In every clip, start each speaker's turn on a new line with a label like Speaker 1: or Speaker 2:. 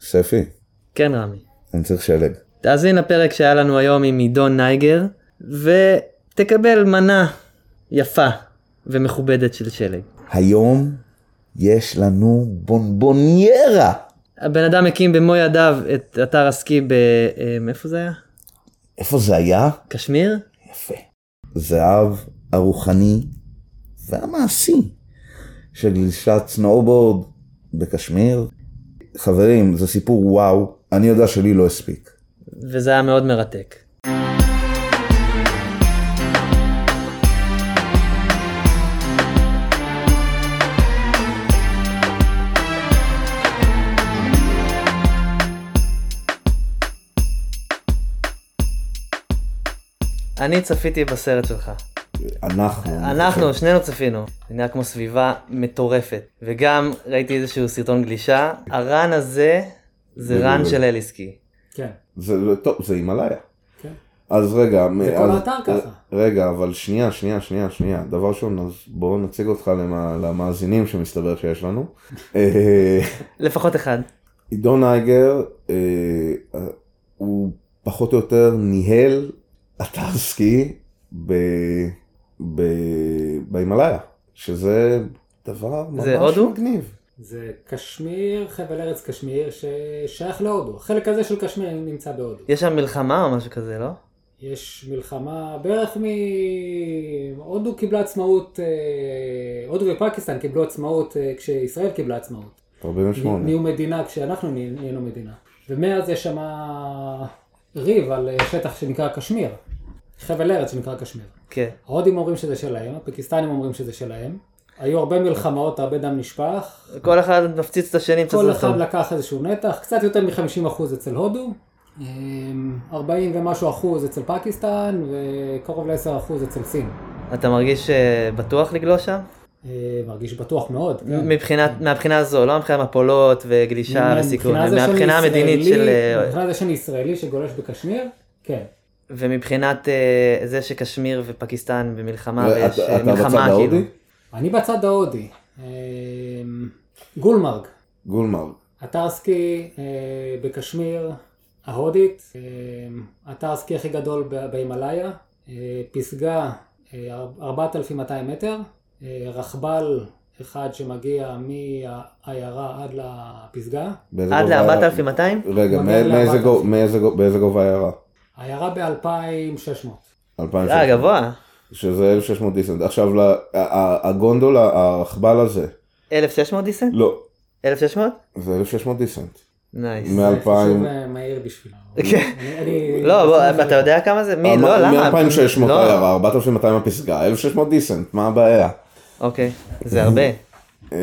Speaker 1: ספי,
Speaker 2: כן רמי.
Speaker 1: אני צריך שלג.
Speaker 2: תאזין לפרק שהיה לנו היום עם עידון נייגר, ותקבל מנה יפה ומכובדת של שלג.
Speaker 1: היום יש לנו בונבוניירה.
Speaker 2: הבן אדם הקים במו ידיו את אתר הסקי ב... אמ, איפה זה היה?
Speaker 1: איפה זה היה?
Speaker 2: קשמיר?
Speaker 1: יפה. זהב הרוחני והמעשי של גלישת סנואובורד בקשמיר. חברים, זה סיפור וואו, אני יודע שלי לא הספיק.
Speaker 2: וזה היה מאוד מרתק. אני צפיתי בסרט שלך.
Speaker 1: אנחנו...
Speaker 2: אנחנו, שנינו צפינו. זה נראה כמו סביבה מטורפת. וגם ראיתי איזשהו סרטון גלישה. הרן הזה זה רן של אליסקי.
Speaker 3: כן.
Speaker 1: זה לא- טוב, זה הימאליה.
Speaker 3: כן.
Speaker 1: אז רגע, מ-
Speaker 3: זה כל
Speaker 1: אז-
Speaker 3: האתר ככה.
Speaker 1: רגע, אבל שנייה, שנייה, שנייה, שנייה. דבר ראשון, אז בואו נציג אותך למה- למאזינים שמסתבר שיש לנו. אה,
Speaker 2: לפחות אחד.
Speaker 1: עידון אייגר, אה, הוא פחות או יותר ניהל אתר סקי ב- ב- בהימאליה, שזה דבר ממש
Speaker 2: זה הודו?
Speaker 1: מגניב.
Speaker 3: זה קשמיר, חבל ארץ קשמיר, ששייך להודו. החלק הזה של קשמיר נמצא בהודו.
Speaker 2: יש שם מלחמה או משהו כזה, לא?
Speaker 3: יש מלחמה בערך מ... הודו קיבלה עצמאות, אה, הודו ופקיסטן קיבלו עצמאות אה, כשישראל קיבלה עצמאות.
Speaker 1: 48.
Speaker 3: נהיו מדינה כשאנחנו נה- נהיינו מדינה. ומאז יש שם ריב על אה, שטח שנקרא קשמיר. חבל ארץ שנקרא קשמיר.
Speaker 2: כן.
Speaker 3: ההודים אומרים שזה שלהם, הפקיסטנים אומרים שזה שלהם. היו הרבה מלחמות, הרבה דם נשפך.
Speaker 2: כל אחד מפציץ את השני,
Speaker 3: כל
Speaker 2: מצטט
Speaker 3: אחד
Speaker 2: אותו.
Speaker 3: לקח איזשהו נתח, קצת יותר מ-50% אצל הודו, אמ, 40 ומשהו אחוז אצל פקיסטן וקרוב ל-10% אצל סין.
Speaker 2: אתה מרגיש אה, בטוח לגלוש שם?
Speaker 3: אה, מרגיש בטוח מאוד. כן.
Speaker 2: מבחינת- מהבחינה הזו, לא מבחינת מפולות וגלישה וסיכון,
Speaker 3: זה שאני
Speaker 2: מהבחינה המדינית
Speaker 3: ישראלי-
Speaker 2: של... אה,
Speaker 3: מבחינה זה שאני ישראלי שגולש בקשמיר, כן.
Speaker 2: ומבחינת אה, זה שקשמיר ופקיסטן במלחמה,
Speaker 1: ואתה-
Speaker 2: ויש אה,
Speaker 1: אתה בצד
Speaker 2: מלחמה כאילו.
Speaker 1: ההודי?
Speaker 3: אני בצד ההודי. אמ, גולמרג,
Speaker 1: גולמרג. אתר
Speaker 3: הטרסקי אה, בקשמיר, ההודית, אה, הטרסקי הכי גדול ב- בהימאליה, אה, פסגה אה, אר- 4,200 מטר, אה, רכבל אחד שמגיע מהעיירה עד לפסגה,
Speaker 1: באיזה
Speaker 2: עד
Speaker 1: גובה היה-
Speaker 2: ל-4200?
Speaker 1: רגע,
Speaker 3: הוא
Speaker 1: מא-
Speaker 3: מגיע
Speaker 1: מאיזה
Speaker 3: ל-
Speaker 1: גו- מאיזה גו- באיזה גובה העיירה?
Speaker 3: עיירה ב-2,600.
Speaker 1: 2600.
Speaker 2: אה, גבוה.
Speaker 1: שזה 1600 דיסנט. עכשיו, ל- ה- ה- הגונדולה, הרכבל הזה,
Speaker 2: 1600 דיסנט?
Speaker 1: לא,
Speaker 2: 1600?
Speaker 1: זה 1600 דיסנט.
Speaker 2: נייס.
Speaker 1: מ-2000,
Speaker 3: אה, מהיר בשבילנו.
Speaker 2: כן.
Speaker 3: אני- אני-
Speaker 2: לא, בוא, אתה יודע כמה זה?
Speaker 1: אה,
Speaker 2: מי? לא, למה?
Speaker 1: מ-2600
Speaker 2: לא.
Speaker 1: הערה, 4200 הפסגה, 1600 דיסנט, מה הבעיה?
Speaker 2: אוקיי, זה הרבה,
Speaker 1: אה,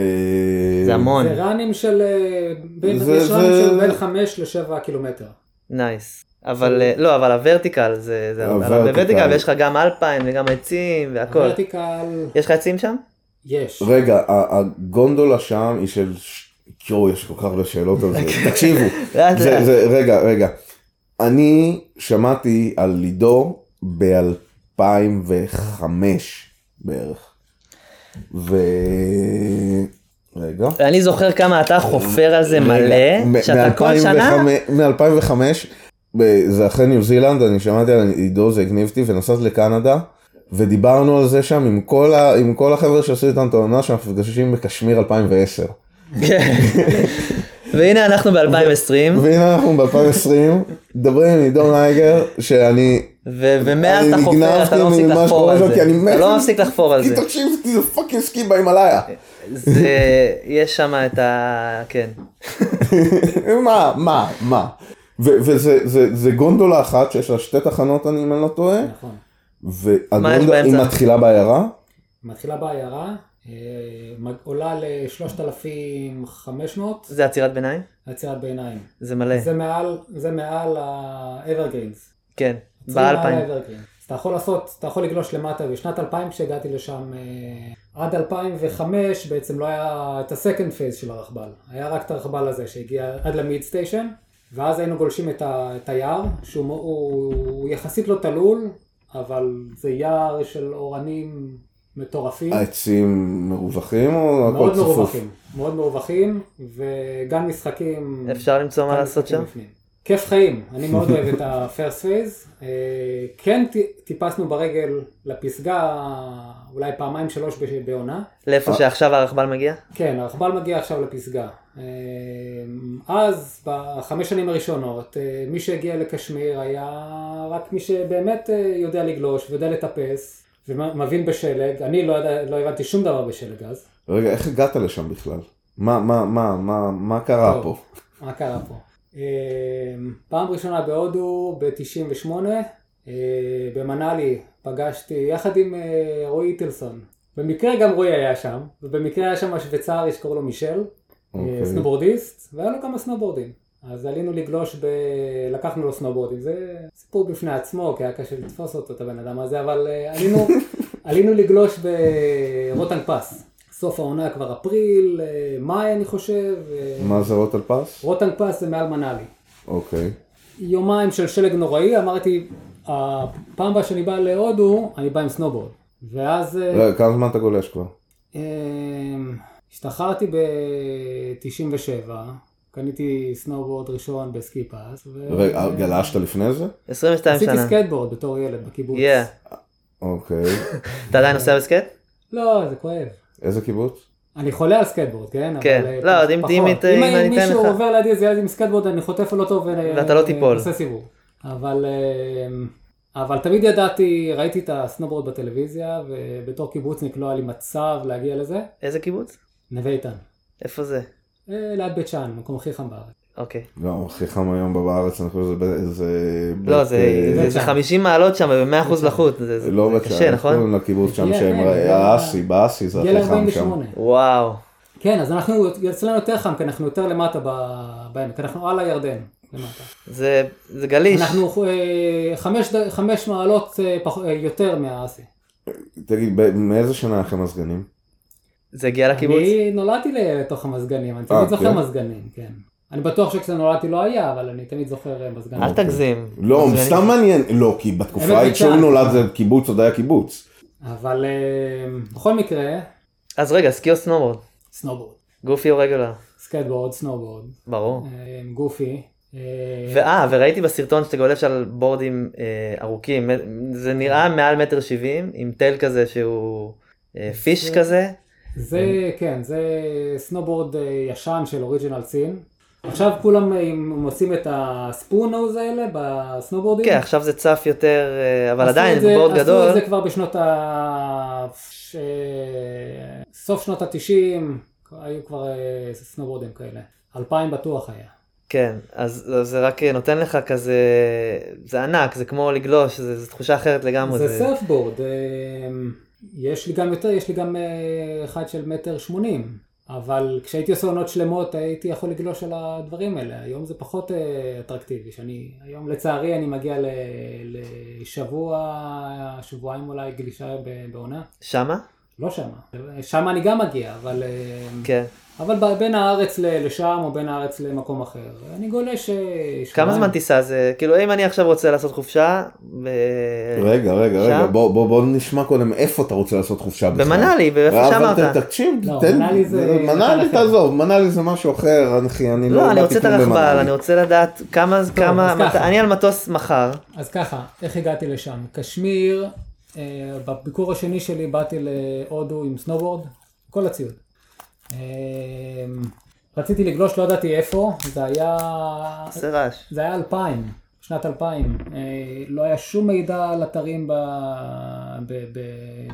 Speaker 2: זה המון.
Speaker 3: זה ראנים של אה, בין-
Speaker 1: זה-
Speaker 3: יש ראנים
Speaker 1: זה-
Speaker 3: של בין 5 ל-7 קילומטר.
Speaker 2: נייס. אבל אה, לא, אבל הוורטיקל זה... זה- אבל
Speaker 1: לא, הוורטיקל.
Speaker 2: בוורטיקל ויש לך גם אלפיים וגם עצים והכל.
Speaker 3: הוורטיקל,
Speaker 2: יש לך עצים שם?
Speaker 3: יש.
Speaker 1: רגע, ה- הגונדולה שם היא של... ש- יואו, יש כל כך הרבה שאלות על זה. תקשיבו,
Speaker 2: לאט
Speaker 1: זה-
Speaker 2: לאט.
Speaker 1: זה- רגע, רגע. אני שמעתי על לידור ב-2005 בערך. ו... רגע.
Speaker 2: אני זוכר כמה אתה חופר על זה מלא, שאתה כל שנה...
Speaker 1: מ-2005, זה אחרי ניו זילנד, אני שמעתי על עידו, זה הגניב אותי, ונסעתי לקנדה, ודיברנו על זה שם עם כל, ה, עם כל החבר'ה שעשו איתנו את העונה, שאנחנו מפגשים בקשמיר 2010.
Speaker 2: כן. והנה אנחנו ב-2020,
Speaker 1: והנה אנחנו ב-2020, מדברים עם עידו נייגר, שאני...
Speaker 2: ומאז אתה
Speaker 1: אני
Speaker 2: חופר, אתה לא
Speaker 1: נגנבתי
Speaker 2: מפסיק
Speaker 1: ממה שקורה
Speaker 2: לחפור על
Speaker 1: שם, כי
Speaker 2: זה.
Speaker 1: אני מת
Speaker 2: אתה לא
Speaker 1: על-
Speaker 2: מפסיק לחפור על
Speaker 1: כי
Speaker 2: זה.
Speaker 1: תקשיב, זה פאקינג סקי בהימאליה.
Speaker 2: זה- יש שם את ה... כן.
Speaker 1: מה, מה, מה. ו- וזה זה- זה גונדולה אחת שיש לה שתי תחנות, אני- אם אני לא טועה.
Speaker 3: נכון.
Speaker 2: מה יש
Speaker 1: והגונדה,
Speaker 2: באמצע?
Speaker 1: היא לא מתחילה בעיירה?
Speaker 3: מתחילה בעיירה, אה, מג- עולה ל-3,500,
Speaker 2: זה עצירת ביניים?
Speaker 3: עצירת ביניים.
Speaker 2: זה מלא.
Speaker 3: זה מעל, זה מעל ה-Evergreens.
Speaker 2: כן.
Speaker 3: זה מעל
Speaker 2: באלפיים.
Speaker 3: ה-Evergreens. אז אתה יכול לעשות, אתה יכול לגלוש למטה, בשנת 2000 כשהגעתי לשם, אה, עד 2005 בעצם לא היה את ה-Second Phase של הרכבל, היה רק את הרכבל הזה שהגיע עד למיד סטיישן, ואז היינו גולשים את, ה, את היער, שהוא מ- הוא, הוא יחסית לא תלול, אבל זה יער של אורנים מטורפים.
Speaker 1: אה, העצים מרווחים או הכל
Speaker 3: מאוד
Speaker 1: צפוף?
Speaker 3: מרווחים, מאוד מרווחים, וגן משחקים.
Speaker 2: אפשר למצוא מה
Speaker 3: גן
Speaker 2: לעשות
Speaker 3: משחקים
Speaker 2: שם?
Speaker 3: בפנים. כיף חיים, אני מאוד אוהב את ה-first phase. אה, כן ט- טיפסנו ברגל לפסגה אולי פעמיים שלוש בש- בעונה.
Speaker 1: אה.
Speaker 2: לאיפה שעכשיו הרכבל מגיע?
Speaker 3: כן, הרכבל מגיע עכשיו לפסגה. אה, אז בחמש שנים הראשונות, אה, מי שהגיע לקשמיר היה רק מי שבאמת אה, יודע לגלוש ויודע לטפס ומבין בשלג. אני לא, יודע, לא הבנתי שום דבר בשלג אז.
Speaker 1: רגע, איך הגעת לשם בכלל? מה, מה, מה, מה, מה קרה
Speaker 3: טוב.
Speaker 1: פה?
Speaker 3: מה קרה פה? אמ, פעם ראשונה בהודו ב-98, אה, במנאלי פגשתי יחד עם אה, רועי איטלסון. במקרה גם רועי היה שם, ובמקרה היה שם השוויצרי שקוראים לו מישל, אה,
Speaker 1: אוקיי.
Speaker 3: סנובורדיסט, והיה לו כמה סנובורדים. אז עלינו לגלוש ב... לקחנו לו סנובורדים, זה סיפור בפני עצמו, כי היה קשה לתפוס אותו, את הבן אדם הזה, אבל אה, עלינו, עלינו לגלוש ברוטנג פס. סוף העונה כבר אפריל, אה, מאי אני חושב. אה,
Speaker 1: מה זה רוטל פס?
Speaker 3: רוטנג פס זה מעל מנאלי.
Speaker 1: אוקיי.
Speaker 3: יומיים של שלג נוראי, אמרתי, הפעם הבאה שאני בא להודו, אני בא עם סנובורד. ואז אה,
Speaker 1: רגע, כמה זמן אתה גולש כבר?
Speaker 3: אמ, השתחררתי ב-97, קניתי סנובורד ראשון בסקי פאס. ו-
Speaker 1: רגע, גלשת לפני זה?
Speaker 2: 22
Speaker 3: עשיתי
Speaker 2: שנה.
Speaker 3: סקייטבורד בתור ילד בקיבוץ.
Speaker 2: יא.
Speaker 1: אוקיי.
Speaker 2: אתה עדיין נוסע בסקט?
Speaker 3: לא, זה כואב.
Speaker 1: איזה קיבוץ?
Speaker 3: אני חולה על סקייטבורד, כן? אבל,
Speaker 2: כן.
Speaker 3: אה,
Speaker 2: לא, אם-
Speaker 3: פחות.
Speaker 2: אם ית- אם אני
Speaker 3: אם
Speaker 2: אתן
Speaker 3: מישהו
Speaker 2: לך.
Speaker 3: עובר לידי איזה ילד עם סקייטבורד, אני חוטף על אותו ו-
Speaker 2: ואתה לא תיפול.
Speaker 3: עושה סיבוב. אבל, אה, אבל תמיד ידעתי, ראיתי את הסנובורד בטלוויזיה, ובתור קיבוצניק לא היה לי מצב להגיע לזה.
Speaker 2: איזה קיבוץ?
Speaker 3: נווה איתן.
Speaker 2: איפה זה?
Speaker 3: אה, ליד בית שאן, המקום הכי חם בארץ.
Speaker 2: אוקיי.
Speaker 1: לא, הכי חם היום בארץ, אני חושב שזה... ב- זה
Speaker 2: לא,
Speaker 1: בית,
Speaker 2: זה
Speaker 1: אה,
Speaker 2: זה-
Speaker 3: בית
Speaker 2: זה
Speaker 3: שם.
Speaker 2: 50 מעלות שם ב-100% לחות. זה זה-
Speaker 1: לא
Speaker 2: זה
Speaker 1: בית שאן,
Speaker 2: קשה,
Speaker 1: איך
Speaker 2: נכון?
Speaker 1: קוראים לקיבוץ שם
Speaker 3: כן,
Speaker 1: שהם,
Speaker 3: כן,
Speaker 1: ר-
Speaker 3: זה ה-
Speaker 1: האסי, באסי, זה
Speaker 3: גיל
Speaker 1: הכי חם שם.
Speaker 3: 48.
Speaker 2: וואו.
Speaker 3: כן, אז אנחנו, אצלנו יותר חם, כי אנחנו יותר למטה ב- בעמק, אנחנו על הירדן. למטה.
Speaker 2: זה זה גליש.
Speaker 3: אנחנו אה, חמש, ד- חמש מעלות אה, פח- אה, יותר מהאסי.
Speaker 1: תגיד, ב- מאיזה שנה היה לכם מזגנים?
Speaker 2: זה הגיע לקיבוץ?
Speaker 3: אני נולדתי לתוך המזגנים, אני
Speaker 1: אה,
Speaker 3: תמיד זוכר
Speaker 1: כן?
Speaker 3: מזגנים, כן. אני בטוח שכשנולדתי לא היה, אבל אני תמיד זוכר אה, מזגנים.
Speaker 2: אל תגזים.
Speaker 1: לא,
Speaker 2: אז אני-
Speaker 1: סתם מעניין, לא, כי
Speaker 3: האמת,
Speaker 1: בתקופה ההיא
Speaker 3: בית
Speaker 1: כשהוא
Speaker 3: שאן.
Speaker 1: נולד זה קיבוץ, עוד היה קיבוץ.
Speaker 3: אבל אה, בכל מקרה,
Speaker 2: אז רגע, סקי או סנובורד?
Speaker 3: סנובורד,
Speaker 2: גופי או רגולר?
Speaker 3: סקייטבורד, סנובורד,
Speaker 2: ברור.
Speaker 3: אה, גופי. אה,
Speaker 2: ואה, וראיתי בסרטון שאתה גולש על בורדים אה, ארוכים, מ- זה נראה מעל מטר שבעים, עם תל כזה שהוא אה, פיש
Speaker 3: זה-
Speaker 2: כזה,
Speaker 3: זה, כן, זה סנובורד אה, ישן של אוריג'ינל סין. עכשיו כולם אה, מוצאים את הספונוז האלה בסנובורדים.
Speaker 2: כן עכשיו זה צף יותר, אה, אבל
Speaker 3: עשו
Speaker 2: עדיין
Speaker 3: את זה-
Speaker 2: זה בורד
Speaker 3: עשו
Speaker 2: גדול,
Speaker 3: את זה כבר בשנות ה... ש... סוף שנות התשעים, היו כבר אה, סנובורדים כאלה. אלפיים בטוח היה.
Speaker 2: כן, אז אז זה רק אה, נותן לך כזה, זה ענק, זה כמו לגלוש, זה זה תחושה אחרת לגמרי,
Speaker 3: זה
Speaker 2: זה-
Speaker 3: סרפבורד. אה, יש לי גם יותר, יש לי גם אה, אחד של מטר שמונים. אבל כשהייתי עושה עונות שלמות הייתי יכול לגלוש על הדברים האלה, היום זה פחות אה, אטרקטיבי, שאני, היום לצערי אני מגיע ל, לשבוע, שבועיים אולי גלישה ב- בעונה,
Speaker 2: שמה?
Speaker 3: לא שמה, שמה אני גם מגיע, אבל אה,
Speaker 2: כן,
Speaker 3: אבל ב- בין הארץ ל- לשם או בין הארץ למקום אחר. אני גולש... אה,
Speaker 2: כמה
Speaker 3: שבועיים.
Speaker 2: זמן טיסה זה, כאילו אם אני עכשיו רוצה לעשות חופשה, ב-
Speaker 1: רגע, רגע, רגע,
Speaker 2: שם?
Speaker 1: בוא- בוא בוא נשמע קודם איפה אתה רוצה לעשות חופשה בכלל.
Speaker 2: במנאלי, באיפה
Speaker 1: אה, אבל
Speaker 2: שאמרת,
Speaker 1: ת- תקשיב,
Speaker 3: לא,
Speaker 1: תן,
Speaker 3: מנאלי זה-
Speaker 1: מנאלי
Speaker 3: זה
Speaker 1: תעזוב, מנאלי זה משהו אחר, אנכי, אני לא
Speaker 2: לא, אני
Speaker 1: באתי
Speaker 2: רוצה את
Speaker 1: כלום
Speaker 2: הרכבל,
Speaker 1: במנאלי.
Speaker 2: אני רוצה לדעת כמה, כמה,
Speaker 3: אז
Speaker 2: מת-
Speaker 3: ככה.
Speaker 2: אני על מטוס מחר,
Speaker 3: אז ככה, איך הגעתי לשם? קשמיר, אה, בביקור השני שלי באתי להודו עם סנובורד, כל הציוד. אה, רציתי לגלוש, לא ידעתי איפה, זה היה...
Speaker 2: עושה רעש.
Speaker 3: זה היה 2000, שנת 2000. אה, לא היה שום מידע על אתרים ב- ב- ב-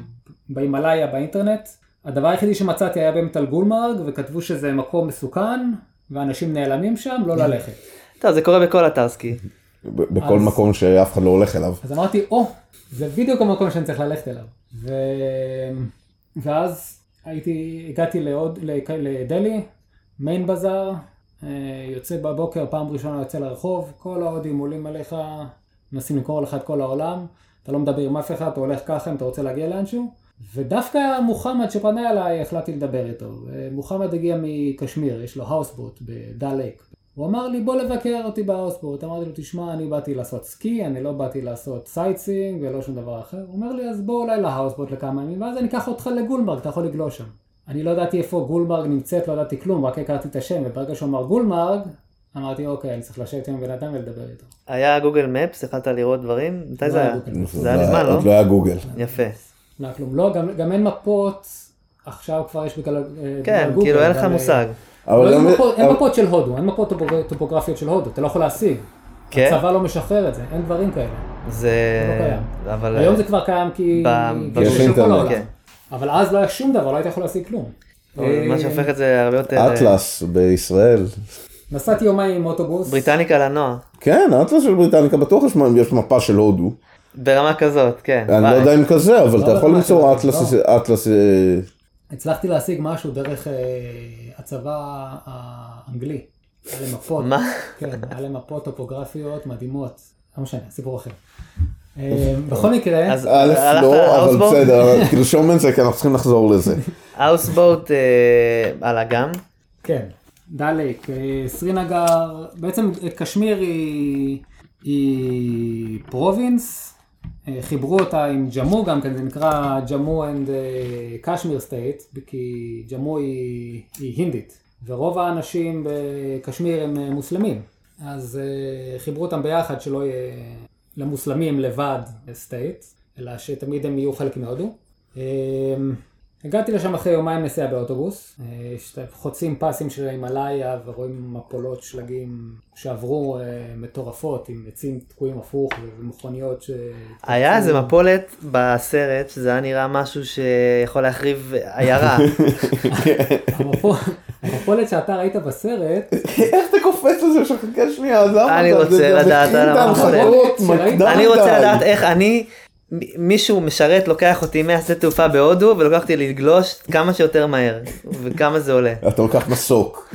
Speaker 3: בהימאליה באינטרנט. הדבר היחידי שמצאתי היה באמת על גולמרג, וכתבו שזה מקום מסוכן, ואנשים נעלמים שם, לא ללכת.
Speaker 2: טוב, זה קורה בכל אתר סקי.
Speaker 1: ב- בכל
Speaker 3: אז-
Speaker 1: מקום שאף אחד לא הולך אליו.
Speaker 3: אז אמרתי, או, זה בדיוק המקום שאני צריך ללכת אליו. ו... ואז הייתי, הגעתי לעוד, לק- לדלהי, מיין בזאר, אה, יוצא בבוקר, פעם ראשונה יוצא לרחוב, כל ההודים עולים עליך, מנסים למכור לך את כל העולם, אתה לא מדבר עם אף אחד, אתה הולך ככה אם אתה רוצה להגיע לאנשהו. ודווקא מוחמד שפנה אליי, החלטתי לדבר איתו. אה, מוחמד הגיע מקשמיר, יש לו האוסבוט בדל לייק. הוא אמר לי בוא לבקר אותי באוספורט, אמרתי לו תשמע אני באתי לעשות סקי, אני לא באתי לעשות סייטסינג ולא שום דבר אחר, הוא אומר לי אז בוא אולי להאוספורט לכמה ימים ואז אני אקח אותך לגולמרג, אתה יכול לגלוש שם. אני לא ידעתי איפה גולמרג נמצאת, לא ידעתי כלום, רק הכרתי את השם וברגע שהוא אמר גולמרג, אמרתי אוקיי אני צריך לשבת עם הבן אדם ולדבר איתו.
Speaker 2: היה גוגל מפס, יכלת לראות דברים? מתי
Speaker 3: לא
Speaker 2: זה
Speaker 3: היה
Speaker 2: היה?
Speaker 3: גוגל
Speaker 2: זה היה מזמן,
Speaker 1: עוד
Speaker 2: לא?
Speaker 1: לא היה גוגל.
Speaker 2: יפה.
Speaker 3: לא היה כלום, לא, גם, גם אין מפות, עכשיו כבר יש בגלל, אה, בגלל
Speaker 2: כן,
Speaker 3: גוגל,
Speaker 2: כאילו אין לך
Speaker 3: אבל, אה,
Speaker 2: מושג.
Speaker 1: אבל
Speaker 3: לא,
Speaker 1: גם-
Speaker 3: אין מפות- אין
Speaker 1: אבל-
Speaker 3: מפות של הודו, אין מפות טופוג- טופוגרפיות של הודו, אתה לא יכול להשיג.
Speaker 2: כן?
Speaker 3: הצבא לא משחרר את זה, אין דברים כאלה.
Speaker 2: זה...
Speaker 3: זה לא
Speaker 2: אבל... אה,
Speaker 3: היום זה כבר קיים כי...
Speaker 2: ב-
Speaker 3: כי
Speaker 1: יש
Speaker 3: של כל
Speaker 1: אינטרנט.
Speaker 3: העולם.
Speaker 2: כן.
Speaker 3: אבל אז לא היה שום דבר, לא היית יכול להשיג כלום. אה,
Speaker 2: אבל מה שהופך את זה הרבה יותר...
Speaker 1: אה, אטלס בישראל.
Speaker 3: נסעתי יומיים עם אוטובוס.
Speaker 2: בריטניקה לנוע. כן.
Speaker 1: כן, האטלס של בריטניקה בטוח יש מה- יש מפה של הודו.
Speaker 2: ברמה כזאת, כן.
Speaker 1: אני לא
Speaker 2: וואי.
Speaker 1: יודע אם כזה, אבל אתה
Speaker 3: לא
Speaker 1: יכול
Speaker 3: ברמה
Speaker 1: למצוא
Speaker 3: של הודו,
Speaker 1: אטלס, אטלס, אה,
Speaker 3: הצלחתי להשיג משהו דרך אה, הצבא האנגלי. היה להם מפות.
Speaker 2: מה?
Speaker 3: כן, היה להם מפות טופוגרפיות מדהימות. לא משנה, סיפור אחר. אה, בכל מקרה,
Speaker 2: אז
Speaker 1: א'
Speaker 2: הלכת
Speaker 1: לא, אבל
Speaker 2: לאוסבורג?
Speaker 1: בסדר, אבל תרשום את זה כי אנחנו צריכים לחזור לזה.
Speaker 2: האוסבוט אה, על אגם.
Speaker 3: כן, דלק, אה, סרינגר, בעצם אה, קשמיר היא, היא פרובינס, אה, חיברו אותה עם ג'מו גם כן, זה נקרא ג'מו and אה, קשמיר סטייט, כי ג'מו היא, היא הינדית, ורוב האנשים בקשמיר הם אה, מוסלמים, אז אה, חיברו אותם ביחד שלא יהיה למוסלמים לבד סטייט, אלא שתמיד הם יהיו חלק מהודו. אה, הגעתי לשם אחרי יומיים נסיעה באוטובוס, אה, שאתם חוצים פסים של ההימאליה ורואים מפולות שלגים שעברו אה, מטורפות עם עצים תקועים הפוך ומכוניות ש...
Speaker 2: היה איזה
Speaker 1: כן.
Speaker 2: מפולת בסרט, שזה היה נראה משהו שיכול להחריב עיירה.
Speaker 3: המפול- המפולת שאתה ראית בסרט,
Speaker 2: כאילו,
Speaker 1: איך אתה קופץ לזה שחכה שנייה, אז למה
Speaker 2: אני
Speaker 1: אתה-
Speaker 2: רוצה
Speaker 1: זה- זה
Speaker 2: לדעת על
Speaker 1: קינדה,
Speaker 2: המחנה.
Speaker 1: חכות, מוקדם
Speaker 2: אני רוצה
Speaker 1: מדי.
Speaker 2: לדעת איך אני, מ- מישהו משרת לוקח אותי מהשדה תעופה בהודו ולוקח אותי לגלוש כמה שיותר מהר, וכמה זה עולה.
Speaker 1: אתה לוקח מסוק.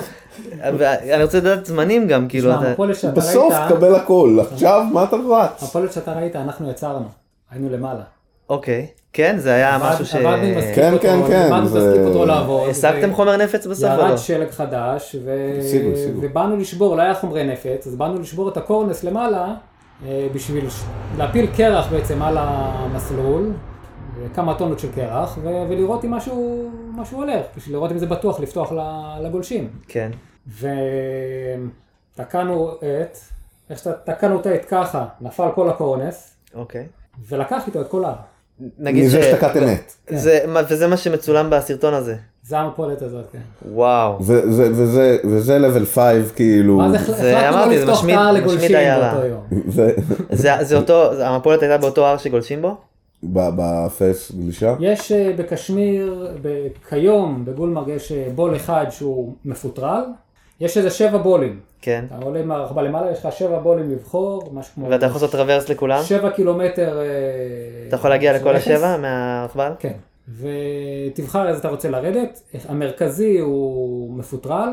Speaker 2: ואני רוצה לדעת זמנים גם, כאילו,
Speaker 3: תשמע,
Speaker 2: אתה...
Speaker 3: המפולת שאתה
Speaker 1: בסוף
Speaker 3: ראית,
Speaker 1: תקבל הכל, עכשיו מה אתה רץ?
Speaker 3: המפולת שאתה ראית, אנחנו יצרנו, היינו למעלה.
Speaker 2: אוקיי, כן, זה היה משהו ש...
Speaker 3: עבדנו עם הסקיפ
Speaker 1: כן,
Speaker 3: אותו,
Speaker 1: כן, כן,
Speaker 3: עבדנו עם
Speaker 1: זה-
Speaker 3: הסקיפ אותו לעבור.
Speaker 2: השגתם
Speaker 3: ו-
Speaker 2: חומר נפץ בסוף או לא?
Speaker 3: ירד שלג חדש, ו...
Speaker 1: השיגו, השיגו.
Speaker 3: ובאנו לשבור, לא היה חומרי נפץ, אז באנו לשבור את הקורנס למעלה, אה, בשביל ש... להפיל קרח בעצם על המסלול, אה, כמה טונות של קרח, ו... ולראות אם משהו, משהו הולך, בשביל לראות אם זה בטוח לפתוח ל- לגולשים.
Speaker 2: כן.
Speaker 3: ותקענו את, איך שתקענו את העט ככה, נפל כל הקורנס,
Speaker 2: אוקיי.
Speaker 3: ולקח איתו את כל ההר.
Speaker 2: נגיד
Speaker 1: מזה שתקת אמת.
Speaker 2: זה- מה- וזה מה שמצולם בסרטון הזה.
Speaker 3: זה המפולת הזאת, כן.
Speaker 2: וואו.
Speaker 1: ו- זה- וזה- וזה level 5 כאילו.
Speaker 3: ואז
Speaker 2: זה-
Speaker 3: החל- החלטנו
Speaker 2: אמרתי,
Speaker 3: לא
Speaker 2: זה
Speaker 3: לפתוח את
Speaker 2: משמיד-
Speaker 3: ההר
Speaker 2: משמיד
Speaker 3: לגולשים
Speaker 2: עיירה.
Speaker 3: באותו יום.
Speaker 1: זה-
Speaker 2: זה זה אותו, זה- המפולת הייתה באותו הר שגולשים בו?
Speaker 1: ב- בפייס גלישה?
Speaker 3: יש אה, בקשמיר, ב- כיום בגולמרג יש אה, בול אחד שהוא מפוטרל, יש איזה שבע בולים.
Speaker 2: כן.
Speaker 3: אתה עולה מהרחבה למעלה, יש לך שבע בולים לבחור, משהו כמו...
Speaker 2: ואתה יכול לעשות טרוורס לכולם?
Speaker 3: שבע קילומטר... אה,
Speaker 2: אתה יכול להגיע
Speaker 3: של
Speaker 2: לכל
Speaker 3: אפס.
Speaker 2: השבע מהרכבל?
Speaker 3: כן. ותבחר איזה אתה רוצה לרדת, המרכזי הוא מפוטרל,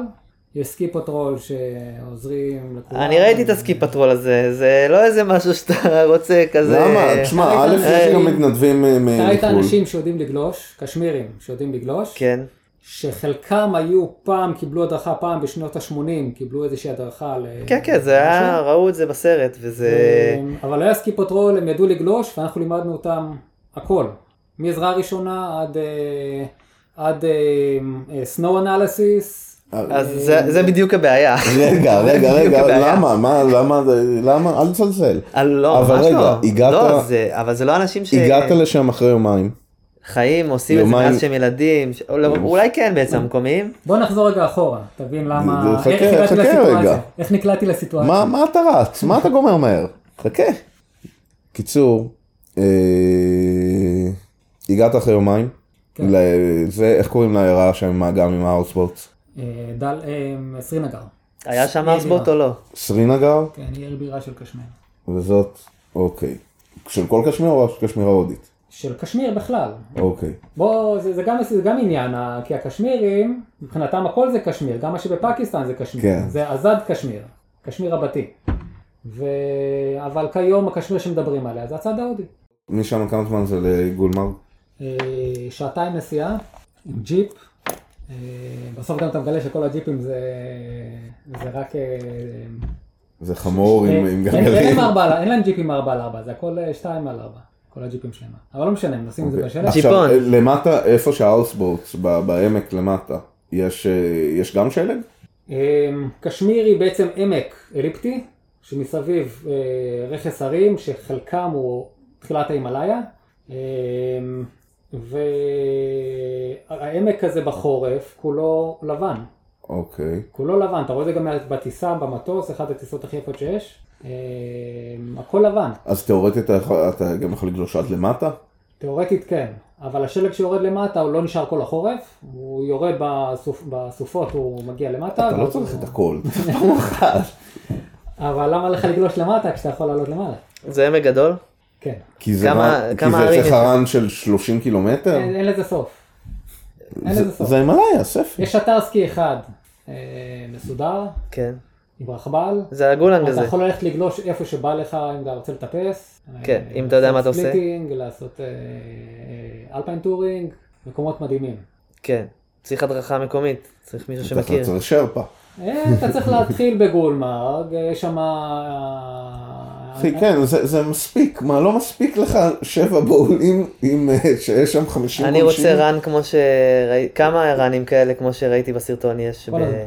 Speaker 3: יש סקי פטרול שעוזרים לכולם.
Speaker 2: אני ראיתי את הסקי פטרול הזה, זה לא איזה משהו שאתה רוצה כזה...
Speaker 1: למה? תשמע,
Speaker 3: אתה
Speaker 1: א'
Speaker 3: ראית
Speaker 1: יש גם
Speaker 3: אנשים-
Speaker 1: מתנדבים אה,
Speaker 3: אתה ראית
Speaker 1: מחו"ל.
Speaker 3: אנשים שיודעים לגלוש, קשמירים שיודעים לגלוש.
Speaker 2: כן,
Speaker 3: שחלקם היו פעם, קיבלו הדרכה פעם בשנות ה-80, קיבלו איזושהי הדרכה ל...
Speaker 2: כן, כן, זה היה, אה, ראו את זה בסרט, וזה...
Speaker 3: משהו. אבל היה סקי פטרול, הם ידעו לגלוש, ואנחנו לימדנו אותם הכל. מעזרה ראשונה עד, אה, עד סנואו אנליסיס.
Speaker 2: אז זה- זה בדיוק הבעיה.
Speaker 1: אה, רגע, רגע,
Speaker 2: בדיוק
Speaker 1: רגע,
Speaker 2: הבעיה.
Speaker 1: למה? מה, למה, למה? אל תזלזל.
Speaker 2: אה, לא,
Speaker 1: אבל
Speaker 2: ממש
Speaker 1: רגע,
Speaker 2: לא.
Speaker 1: הגעת-
Speaker 2: לא, זה- אבל זה לא אנשים
Speaker 1: הגעת לשם אחרי יומיים.
Speaker 2: שחיים, עושים את זה
Speaker 1: יומיים-
Speaker 2: מאז שהם ילדים, ש- או לא, אולי כן בעצם המקומיים.
Speaker 3: בוא נחזור רגע אחורה, תבין למה...
Speaker 1: חכה,
Speaker 3: איך הגעתי
Speaker 1: חכה
Speaker 3: לסיטואציה,
Speaker 1: רגע.
Speaker 3: איך נקלעתי לסיטואציה.
Speaker 1: מה, מה אתה רץ? מה אתה גומר מהר? חכה. קיצור, אה, הגעת אחרי יומיים.
Speaker 3: כן.
Speaker 1: זה, איך קוראים לעיירה שם עם האגם עם האוסבוטס?
Speaker 3: אה, דל... אה, סרינגר.
Speaker 2: היה שם ארסבוט או לא?
Speaker 1: סרינגר,
Speaker 3: כן, עיר בירה של קשמיר.
Speaker 1: וזאת, אוקיי. של כל קשמיר או רק של קשמיר ההודית?
Speaker 3: של קשמיר בכלל.
Speaker 1: אוקיי.
Speaker 3: בוא, זה, זה, גם, זה גם עניין, ה- כי הקשמירים, מבחינתם הכל זה קשמיר, גם מה שבפקיסטן זה קשמיר,
Speaker 1: כן.
Speaker 3: זה עזד קשמיר, קשמיר רבתי. ו... אבל כיום הקשמיר שמדברים עליה זה הצד ההודי.
Speaker 1: משם כמה זמן זה לגולמר?
Speaker 3: אה, שעתיים נסיעה, עם ג'יפ, אה, בסוף גם אתה מגלה שכל הג'יפים זה, זה רק... אה,
Speaker 1: זה חמור עם
Speaker 3: אה,
Speaker 1: עם
Speaker 3: אין- אין
Speaker 1: גלגלים.
Speaker 3: להם ארבע על- אין להם ג'יפים ארבע על ארבע, זה הכל אה, שתיים על ארבע, כל הג'יפים שלהם. אבל לא משנה, הם נוסעים את זה בשלט.
Speaker 1: עכשיו, אה,
Speaker 2: ציפון.
Speaker 1: למטה, איפה שהאוסבוטס, בעמק למטה, יש אה, יש גם שלג?
Speaker 3: אמ, קשמיר היא בעצם עמק אליפטי, שמסביב אה, רכס הרים, שחלקם הוא תחילת ההימאליה, אמ, והעמק הזה בחורף כולו לבן,
Speaker 1: אוקיי.
Speaker 3: כולו לבן, אתה רואה את זה גם בטיסה, במטוס, אחת הטיסות הכי יפות שיש, אמ, הכל לבן,
Speaker 1: אז תאורטית אתה יכול- אתה גם יכול לגלוש עד למטה?
Speaker 3: תאורטית כן, אבל השלג שיורד למטה הוא לא נשאר כל החורף, הוא יורד בסופ... בסופות, הוא מגיע למטה.
Speaker 1: אתה לא
Speaker 3: ואז
Speaker 1: צריך
Speaker 3: הוא-
Speaker 1: את הכל, פעם אחת.
Speaker 3: אבל למה לך לגלוש למטה כשאתה יכול לעלות למעלה?
Speaker 2: זה עמק גדול?
Speaker 3: כן.
Speaker 1: כי זה
Speaker 2: כמה-
Speaker 1: מה- כי
Speaker 2: כמה
Speaker 1: זה
Speaker 2: ערים
Speaker 1: צריך
Speaker 2: יש?
Speaker 1: הרן של 30 קילומטר?
Speaker 2: כן.
Speaker 3: אין, אין לזה סוף. כן, אין
Speaker 1: זה-
Speaker 3: לזה סוף.
Speaker 1: זה הימלאיה, ספר.
Speaker 3: יש אתר סקי אחד אה, מסודר,
Speaker 2: כן.
Speaker 3: עם רכבל.
Speaker 2: זה הגולנג
Speaker 3: אתה
Speaker 2: הזה.
Speaker 3: יכול ללכת לגלוש איפה שבא לך, אם אתה רוצה לטפס.
Speaker 2: כן,
Speaker 3: אה,
Speaker 2: אם אתה יודע מה אתה
Speaker 3: לעשות
Speaker 2: עושה.
Speaker 3: ספליטינג, לעשות אה, אה, אלפיין טורינג, מקומות מדהימים.
Speaker 2: כן. צריך הדרכה מקומית. צריך מישהו
Speaker 1: אתה
Speaker 2: שמכיר.
Speaker 1: צריך שרפה.
Speaker 3: אה, אתה צריך להתחיל בגולמרג, אה, יש שם... אה,
Speaker 1: אחי, כן, זה זה מספיק. מה, לא מספיק לך שבע בולים עם, אה, שיש שם 50
Speaker 2: אני רוצה
Speaker 1: גולשים?
Speaker 2: רן כמו שראיתי, כמה רנים כאלה כמו שראיתי בסרטון יש?
Speaker 3: כל
Speaker 2: ב-
Speaker 3: הזמן.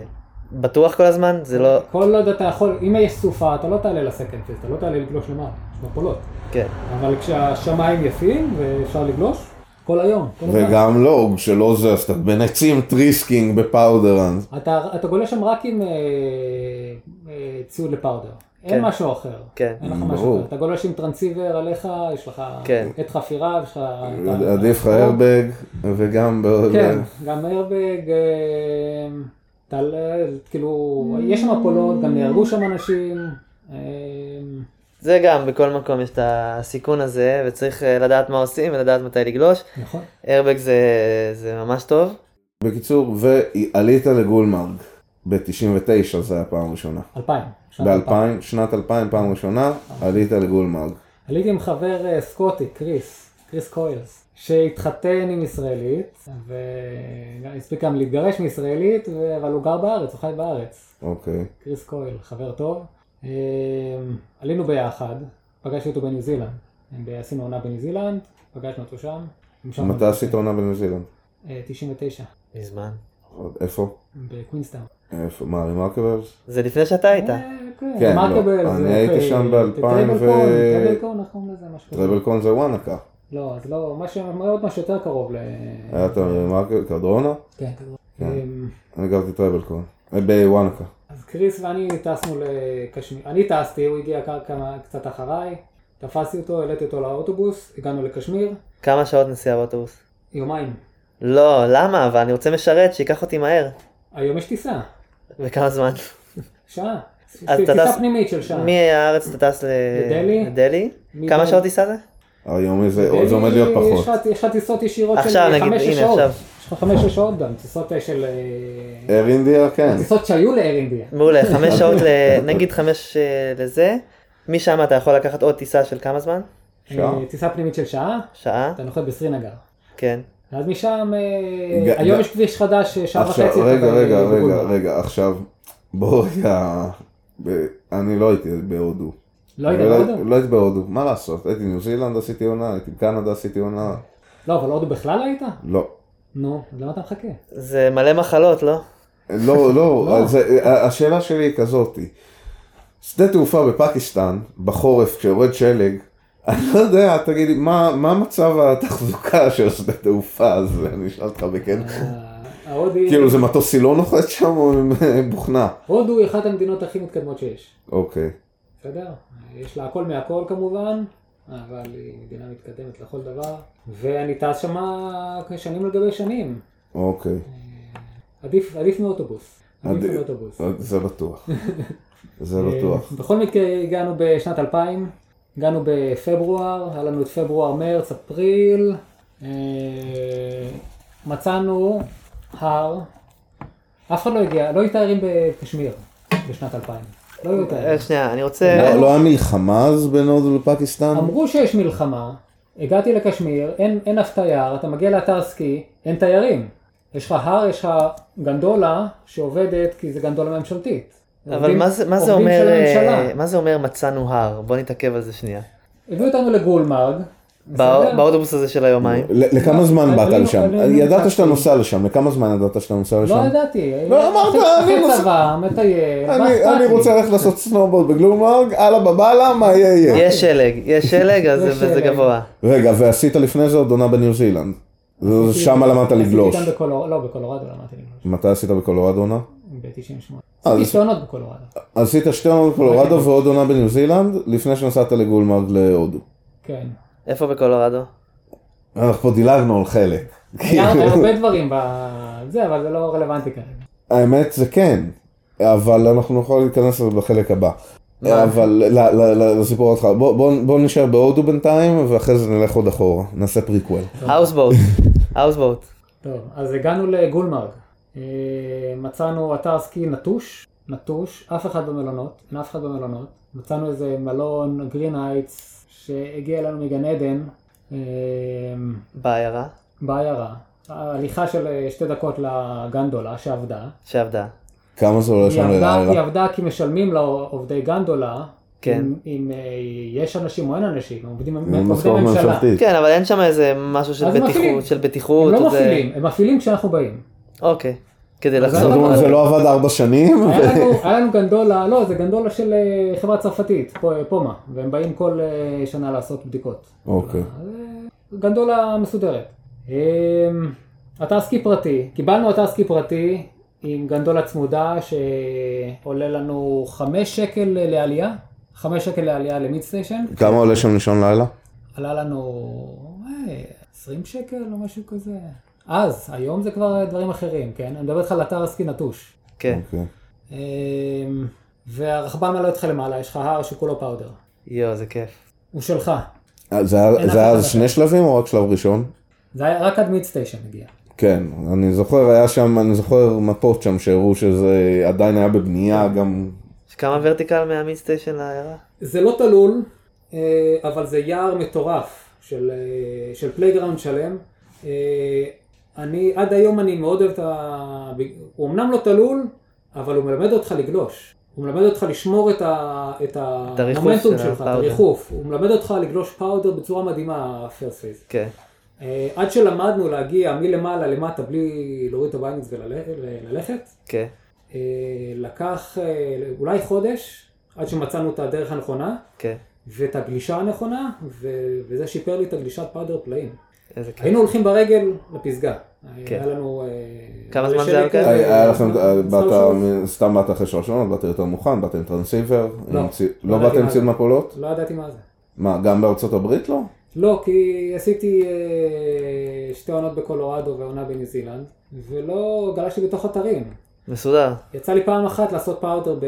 Speaker 2: בטוח כל הזמן? זה לא...
Speaker 3: כל עוד אתה יכול, אם יש סופה, אתה לא תעלה לסקנד פייס, אתה לא תעלה לגלוש למעלה, יש מפולות.
Speaker 2: כן.
Speaker 3: אבל כשהשמיים יפים ואפשר לגלוש, כל היום. כל הזמן.
Speaker 1: וגם לוג שלא זז, אתה בין עצים טריסקינג בפאודרן.
Speaker 3: אתה, אתה גולש שם רק עם אה, אה, ציוד לפאודר. אין
Speaker 2: כן.
Speaker 3: משהו אחר.
Speaker 2: כן.
Speaker 3: אין לך
Speaker 1: ברור.
Speaker 3: משהו אחר. אתה גולש עם טרנסיבר עליך, יש לך
Speaker 2: כן.
Speaker 3: עת חפירה, יש לך...
Speaker 1: עדיף לך הרבג, וגם... ב-
Speaker 3: כן,
Speaker 1: ב-
Speaker 3: גם הרבג, אה, אתה, לא- כאילו, יש שם מפולות, גם נהרגו שם אנשים. אה,
Speaker 2: זה גם, בכל מקום יש את הסיכון הזה, וצריך אה, לדעת מה עושים ולדעת מתי לגלוש.
Speaker 3: נכון.
Speaker 2: איירבג זה, זה ממש טוב.
Speaker 1: בקיצור, ועלית לגולמרג ב-99, זה היה פעם ראשונה.
Speaker 3: אלפיים. שנת אלפיים.
Speaker 1: ב-2000, שנת 2000, פעם ראשונה, עלית לגולמרג.
Speaker 3: עליתי עם חבר אה, סקוטי, קריס, קריס קוילס, שהתחתן עם ישראלית, והספיק גם להתגרש מישראלית, ו- אבל הוא גר בארץ, הוא חי בארץ.
Speaker 1: אוקיי.
Speaker 3: קריס קויל, חבר טוב. אה, עלינו ביחד, פגשתי אותו בניו זילנד. עשינו עונה בניו זילנד, פגשנו אותו שם. ומשם-
Speaker 1: מתי עשית עונה בניו זילנד?
Speaker 3: אה, 99,
Speaker 2: מזמן.
Speaker 3: נכון.
Speaker 1: איפה?
Speaker 3: בקווינסטאון.
Speaker 1: איפה? מה, רימרקברס?
Speaker 2: זה לפני שאתה היית.
Speaker 1: כן,
Speaker 3: כן,
Speaker 1: לא.
Speaker 3: מרקבל,
Speaker 1: אני
Speaker 3: זה-
Speaker 1: הייתי שם
Speaker 3: אה,
Speaker 1: ב- 2000 ו-
Speaker 3: טרבלקון, טרבלקון, אנחנו קוראים לזה נכון, משהו כזה.
Speaker 1: טראבל קון זה וואנקה.
Speaker 3: לא, אז לא, משהו, מאוד משהו יותר קרוב ל...
Speaker 1: היה את הרימרקברס, קרדרונה?
Speaker 3: כן,
Speaker 1: כן.
Speaker 3: אמ,
Speaker 1: אני גרתי טראבל קון. אה, בוואנקה.
Speaker 3: אז קריס ואני טסנו לקשמיר, אני טסתי, הוא הגיע כ- כמה, קצת אחריי, תפסתי אותו, העליתי אותו לאוטובוס, הגענו לקשמיר,
Speaker 2: כמה שעות נסיעה באוטובוס?
Speaker 3: יומיים.
Speaker 2: לא, למה? אבל אני רוצה משרת, שייקח אותי מהר.
Speaker 3: היום יש טיסה,
Speaker 2: בכמה זמן?
Speaker 3: שעה.
Speaker 2: אז אתה
Speaker 3: טיסה
Speaker 2: טס-
Speaker 3: פנימית של שעה.
Speaker 2: מהארץ אתה טס ל...
Speaker 3: לדלהי?
Speaker 2: לדלהי?
Speaker 3: מדלהי.
Speaker 2: כמה שעות טיסה זה?
Speaker 1: היום איזה-
Speaker 3: ואין
Speaker 1: זה
Speaker 3: לי-
Speaker 1: עומד להיות
Speaker 3: אה, יש
Speaker 1: פחות.
Speaker 3: לך- יש לך טיסות ישירות של
Speaker 2: עכשיו, נגיד,
Speaker 3: חמש-שש
Speaker 2: הנה,
Speaker 3: שעות.
Speaker 2: עכשיו.
Speaker 3: יש לך חמש-שש שעות גם, טיסות אה, של... אה,
Speaker 1: אייר אינדיה, כן.
Speaker 3: טיסות שהיו לאייר אינדיה.
Speaker 2: מעולה, חמש שעות, ל... נגיד חמש אה, לזה. משם אתה יכול לקחת עוד טיסה של כמה זמן?
Speaker 1: שעה.
Speaker 3: אה, טיסה פנימית של שעה,
Speaker 2: שעה?
Speaker 3: אתה נוחת בסרינגר.
Speaker 2: כן.
Speaker 3: אז משם, אה,
Speaker 1: ג- ג-
Speaker 3: היום יש כביש חדש, אה, שעה וחצי.
Speaker 1: עכשיו,
Speaker 3: אתה
Speaker 1: רגע,
Speaker 3: ב-
Speaker 1: רגע,
Speaker 3: בגולמרג.
Speaker 1: רגע, רגע, עכשיו, בואו רגע, ב- אני לא הייתי בהודו.
Speaker 3: לא יודע,
Speaker 1: אבל
Speaker 3: לא יודע.
Speaker 1: לא הייתי בהודו, מה לעשות, הייתי ניו זילנד עשיתי עונה, הייתי בקנדה עשיתי עונה,
Speaker 3: לא, אבל הודו בכלל היית?
Speaker 1: לא.
Speaker 3: נו, אז למה אתה מחכה?
Speaker 2: זה מלא מחלות, לא?
Speaker 1: לא, לא, אז, אה, השאלה שלי היא כזאתי. שדה תעופה בפקיסטן, בחורף כשיורד שלג, אני לא יודע, תגיד לי, מה מה מצב התחזוקה של שדה תעופה הזה? אני אשאל אותך בכן.
Speaker 3: ה- ההודי,
Speaker 1: כן. כאילו זה מטוס סילון נוחת שם או עם אה, בוכנה?
Speaker 3: הודו היא אחת המדינות הכי מתקדמות שיש,
Speaker 1: אוקיי.
Speaker 3: בסדר? יש לה הכל מהכל כמובן, אבל היא מדינה מתקדמת לכל דבר, ואני טס שמה שנים על גבי שנים,
Speaker 1: אוקיי,
Speaker 3: עדיף, עדיף מאוטובוס. עדיף
Speaker 1: עדיף.
Speaker 3: מאוטובוס.
Speaker 1: זה בטוח. זה לא בטוח.
Speaker 3: אה, בכל מקרה הגענו בשנת 2000, הגענו בפברואר, היה לנו את פברואר, מרץ, אפריל, אה, מצאנו הר, אף אחד לא הגיע, לא היו תיירים בקשמיר בשנת 2000, לא היו תיירים.
Speaker 2: רק אה, שנייה, אני רוצה...
Speaker 1: לא לא היה מלחמה אז בין הודו לפקיסטן?
Speaker 3: אמרו שיש מלחמה, הגעתי לקשמיר, אין, אין אף תייר, אתה מגיע לאתר סקי, אין תיירים. יש לך הר, יש לך גנדולה שעובדת כי זה גנדולה ממשלתית.
Speaker 2: אבל
Speaker 3: עובדים-
Speaker 2: מה זה, מה, זה
Speaker 3: עובדים
Speaker 2: אומר,
Speaker 3: של הממשלה.
Speaker 2: אה, מה זה אומר מצאנו הר? בוא נתעכב על זה שנייה.
Speaker 3: הביאו אותנו לגולמרג.
Speaker 2: בא-
Speaker 3: בסדר?
Speaker 2: באוטובוס הזה של היומיים.
Speaker 1: ל- לכמה זמן באת
Speaker 3: לא, אני-
Speaker 1: לשם?
Speaker 3: אני-
Speaker 1: ידעת
Speaker 3: אני-
Speaker 1: שאתה נוסע לשם, לכמה זמן ידעת שאתה נוסע לשם?
Speaker 3: לא ידעתי.
Speaker 1: לא, אמרת, אני
Speaker 3: אחרי
Speaker 1: נוסע-
Speaker 3: צבא, מטייל. מה
Speaker 1: אני-
Speaker 3: אכפת
Speaker 1: אני
Speaker 3: לי?
Speaker 1: רוצה ללכת לעשות סנובורד בגלומרג, אללה בבאללה, מה יהיה יהיה.
Speaker 2: יש שלג, יש שלג, אז
Speaker 3: יש
Speaker 2: וזה
Speaker 3: שלג.
Speaker 2: גבוה.
Speaker 1: רגע, ועשית לפני זה עוד עונה בניו זילנד. זה-
Speaker 3: עשיתי-
Speaker 1: שם למדת
Speaker 3: עשיתי
Speaker 1: לגלוש.
Speaker 3: גם בקולור- לא, בקולורדו למדתי לגלוש.
Speaker 1: מתי עשית בקולורדו עונה?
Speaker 3: ב-98.
Speaker 1: אה,
Speaker 3: עשיתי
Speaker 1: אז-
Speaker 3: שתי עונות בקולורדו.
Speaker 1: עשית שתי עונות בקולורדו ועוד עונה בניו זילנד, לפני שנסעת לגולמרג להודו.
Speaker 3: כן.
Speaker 2: איפה בקולורדו?
Speaker 1: אנחנו פה דילגנו על חלק. כן.
Speaker 3: היה היה הרבה דברים בזה, אבל זה לא רלוונטי כרגע.
Speaker 1: האמת זה כן, אבל אנחנו לא יכולים להיכנס לזה בחלק הבא.
Speaker 2: מה?
Speaker 1: אבל ל- ל- ל- לסיפור אותך, בואו נשאר בהודו בינתיים ואחרי זה נלך עוד אחורה, נעשה פריקוול.
Speaker 2: האוסבוט, האוסבוט.
Speaker 3: טוב, אז הגענו לגולמרג. אה, מצאנו אתר סקי נטוש, נטוש, אף אחד במלונות, אין אף אחד במלונות. מצאנו איזה מלון, גרין הייטס, שהגיע אלינו מגן עדן, אה,
Speaker 2: בעיירה
Speaker 3: בעיירה. הליכה של אה, שתי דקות לגנדולה שעבדה.
Speaker 2: שעבדה.
Speaker 1: כמה זה עולה
Speaker 3: היא
Speaker 1: שם
Speaker 3: עבדה, היא
Speaker 1: ללילה?
Speaker 3: עבדה כי משלמים לעובדי גנדולה,
Speaker 2: כן.
Speaker 3: אם, אם אה, יש אנשים או אין אנשים, הם עובדים
Speaker 1: זה
Speaker 3: הם עובדי
Speaker 1: משכורת
Speaker 3: ממשלה.
Speaker 1: ממשלתית.
Speaker 2: כן, אבל אין שם איזה משהו של
Speaker 3: אז הם מפעילים.
Speaker 2: בטיחות, של
Speaker 3: הם
Speaker 2: בטיחות.
Speaker 3: לא
Speaker 2: או זה-
Speaker 3: מפעילים, הם מפעילים כשאנחנו באים.
Speaker 2: אוקיי. כדי
Speaker 3: כן, אז כן,
Speaker 1: זאת
Speaker 2: לחזור.
Speaker 1: אומרת, זה לא עבד ארבע שנים?
Speaker 3: היה לנו, היה לנו גנדולה, לא, זה גנדולה של אה, חברה צרפתית, פו- פומה, והם באים כל אה, שנה לעשות בדיקות.
Speaker 1: אוקיי.
Speaker 3: אז, אה, גנדולה מסודרת. אמ, אתר סקי פרטי, קיבלנו אתר סקי פרטי עם גנדולה צמודה שעולה לנו 5 שקל לעלייה, 5 שקל לעלייה למיד סטיישן,
Speaker 1: כמה עולה שם לישון לילה?
Speaker 3: עלה לנו אה, 20 שקל או משהו כזה. אז, היום זה כבר אה, דברים אחרים, כן? אני מדבר איתך על אתר הסקי נטוש.
Speaker 2: כן.
Speaker 1: אוקיי.
Speaker 3: אמ, והרחבה מעלה אותך למעלה, יש לך הר שכולו פאודר.
Speaker 2: יואו, זה כיף.
Speaker 3: הוא שלך.
Speaker 1: אה, זה היה-
Speaker 3: אין אף
Speaker 1: זה היה
Speaker 3: אחד
Speaker 1: שני שלבים או רק שלב ראשון?
Speaker 3: זה היה רק עד מיד סטיישן הגיע.
Speaker 1: כן, אני זוכר, היה שם, אני זוכר מפות שם שהראו שזה עדיין היה בבנייה
Speaker 3: כן.
Speaker 1: גם.
Speaker 2: יש כמה ורטיקל מהמיד סטיישן לעיירה?
Speaker 3: זה לא תלול, אה, אבל זה יער מטורף של, אה, של פלייגראונד שלם. אה, אני, עד היום אני מאוד אוהב את ה... הוא אמנם לא תלול, אבל הוא מלמד אותך לגלוש. הוא מלמד אותך לשמור את, ה, את
Speaker 2: את הריחוף
Speaker 3: המומנטום
Speaker 2: של
Speaker 3: שלך, את
Speaker 2: הפאודר.
Speaker 3: הריחוף. הוא מלמד אותך לגלוש פאודר בצורה מדהימה, הפרס פייס.
Speaker 2: כן.
Speaker 3: אה, עד שלמדנו להגיע מלמעלה למטה בלי להוריד את הבייניקס וללכת,
Speaker 2: כן.
Speaker 3: אה, לקח אה, אולי חודש עד שמצאנו את הדרך הנכונה
Speaker 2: כן.
Speaker 3: ואת הגלישה הנכונה, ו- וזה שיפר לי את הגלישת פאודר פלאים.
Speaker 2: איזה כיף.
Speaker 3: היינו הולכים ברגל לפסגה.
Speaker 2: כן.
Speaker 3: היה לנו... אה,
Speaker 2: כמה
Speaker 3: מלא
Speaker 2: זמן זה
Speaker 3: שלג
Speaker 2: היה לוקח?
Speaker 3: כזה,
Speaker 1: היה היה לכם, אה,
Speaker 3: סתם
Speaker 1: באת,
Speaker 3: שעות.
Speaker 1: סתם באת אחרי שלוש עונות, באת יותר מוכן, באת עם טרנסיבר, עם
Speaker 3: לא.
Speaker 1: צי- לא
Speaker 3: לא
Speaker 1: באת
Speaker 3: ידעתי
Speaker 1: עם
Speaker 3: מה
Speaker 1: ציוד
Speaker 3: זה.
Speaker 1: מפולות?
Speaker 3: לא ידעתי מה זה.
Speaker 1: מה, גם בארצות הברית לא?
Speaker 3: לא, כי עשיתי אה, שתי עונות בקולורדו ועונה בניו זילנד, ולא גלשתי בתוך אתרים.
Speaker 2: מסודר.
Speaker 3: יצא לי פעם אחת לעשות פאודר ב...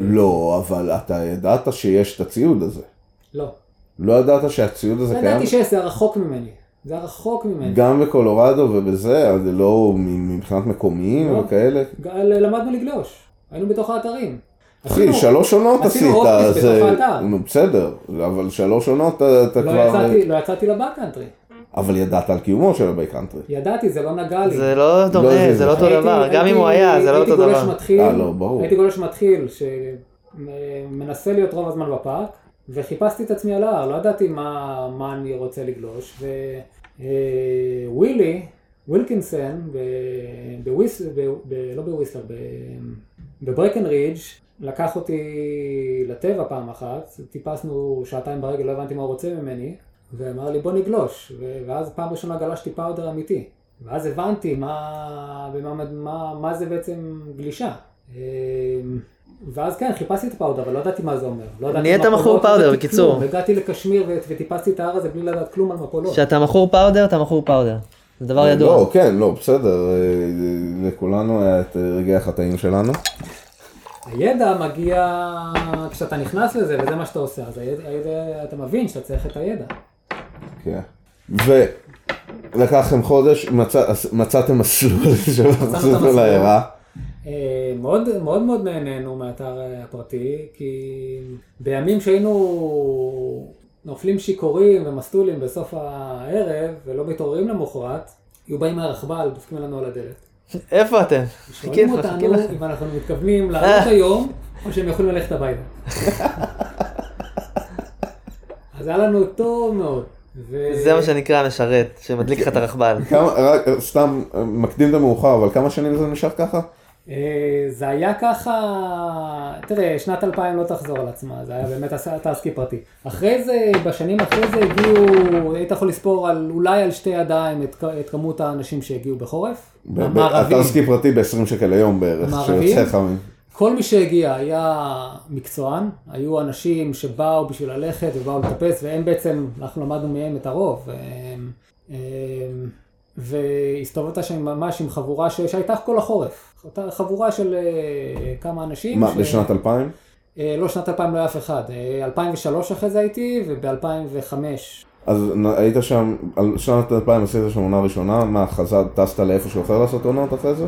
Speaker 1: לא, אבל אתה ידעת שיש את הציוד הזה.
Speaker 3: לא.
Speaker 1: לא ידעת שהציוד הזה קיים?
Speaker 3: ידעתי שזה היה רחוק ממני. זה היה רחוק ממני.
Speaker 1: גם בקולורדו ובזה, אבל זה לא מ- מבחינת מקומיים
Speaker 3: לא.
Speaker 1: וכאלה.
Speaker 3: ג- למדנו לגלוש. היינו בתוך האתרים.
Speaker 1: אחי, שלוש עונות
Speaker 3: עשינו
Speaker 1: עשית,
Speaker 3: הופקיס
Speaker 1: זה...
Speaker 3: בתוך האתר.
Speaker 1: נו, בסדר, אבל שלוש עונות אתה אתה
Speaker 3: לא
Speaker 1: כבר...
Speaker 3: יצאתי- לא יצאתי לבאקאנטרי.
Speaker 1: אבל ידעת על קיומו של הבי קאנטרי.
Speaker 3: ידעתי, זה לא נגע לי.
Speaker 2: זה לא דומה,
Speaker 1: זה-
Speaker 2: זה לא אותו
Speaker 3: הייתי-
Speaker 2: דבר. גם
Speaker 3: הייתי-
Speaker 2: אם הוא היה, זה לא אותו
Speaker 3: הייתי גולש
Speaker 2: דבר.
Speaker 3: מתחיל,
Speaker 1: אה, לא, ברור.
Speaker 3: הייתי גולש מתחיל, שמנסה להיות רוב הזמן בפארק, וחיפשתי את עצמי על ההר, לא ידעתי מה, מה אני רוצה לגלוש, אה, ווילי, ווילקינסון, ב, בוויס, ב, ב, לא בוויסלר, ב, בברקנרידג' לקח אותי לטבע פעם אחת, טיפסנו שעתיים ברגל, לא הבנתי מה הוא רוצה ממני, ואמר לי בוא נגלוש, ו- ואז פעם ראשונה גלשתי פאודר אמיתי. ואז הבנתי מה, במה, מה, מה זה בעצם גלישה. אמ, ואז כן, חיפשתי את הפאודר, אבל לא ידעתי מה זה אומר. לא ידעתי
Speaker 2: נהיית
Speaker 3: מה
Speaker 2: מכור
Speaker 3: פאודר, לא
Speaker 2: פאודר,
Speaker 3: ידעתי
Speaker 2: בקיצור.
Speaker 3: כלום. הגעתי לקשמיר ו- וטיפסתי את ההר הזה בלי לדעת כלום על מפולות.
Speaker 2: כשאתה מכור פאודר, אתה מכור פאודר. זה
Speaker 3: אה,
Speaker 2: דבר ידוע.
Speaker 1: לא, כן, לא, בסדר. אה, לכולנו היה את אה, רגעי החטאים שלנו.
Speaker 3: הידע מגיע כשאתה נכנס לזה, וזה מה שאתה עושה, אז הידע, הידע, אתה מבין שאתה צריך את הידע.
Speaker 1: כן. ולקחתם חודש, מצא- מצאתם מסלול
Speaker 3: את
Speaker 1: שמחזיר
Speaker 3: המסלול.
Speaker 1: לעיירה.
Speaker 3: אה, מאוד מאוד מאוד נהנינו מהאתר אה, הפרטי, כי בימים שהיינו נופלים שיכורים ומסטולים בסוף הערב ולא מתעוררים למחרת, היו באים מהרכבל, דופקים לנו על הדלת.
Speaker 2: איפה אתם?
Speaker 3: שואלים
Speaker 2: לך, חכה לך.
Speaker 3: אותנו אם אנחנו מתכוונים
Speaker 2: אה.
Speaker 3: לעלות היום, או שהם יכולים ללכת הביתה. אז היה לנו טוב מאוד. ו-
Speaker 2: זה מה שנקרא משרת, שמדליק לך את הרכבל.
Speaker 1: כמה, רק, סתם אה, מקדים את המאוחר, אבל כמה שנים זה נשאר ככה?
Speaker 3: אה, זה היה ככה, תראה, שנת 2000 לא תחזור על עצמה, זה היה באמת עשה- אתר סקי פרטי. אחרי זה, בשנים אחרי זה הגיעו, היית יכול לספור על, אולי על שתי ידיים את, כ- את כמות האנשים שהגיעו בחורף.
Speaker 1: ב- ב-
Speaker 3: המערבים,
Speaker 1: אתר סקי פרטי ב-20 שקל ליום בערך,
Speaker 3: מערבים?
Speaker 1: שיוצא לך מ...
Speaker 3: כל מי שהגיע היה מקצוען, היו אנשים שבאו בשביל ללכת ובאו לטפס, והם בעצם, אנחנו למדנו מהם את הרוב. הם- הם- והסתובבת שם ממש עם חבורה ש- שהייתה כל החורף. אותה חבורה של אה, כמה אנשים.
Speaker 1: מה,
Speaker 3: ש-
Speaker 1: בשנת 2000?
Speaker 3: אה, לא, שנת 2000 לא היה אף אחד. אה, 2003 אחרי זה הייתי, וב-2005.
Speaker 1: אז נ- היית שם, על שנת 2000 עשית שם עונה ראשונה, מה, חזר, טסת לאיפשהו אחר לעשות עונות אחרי זה?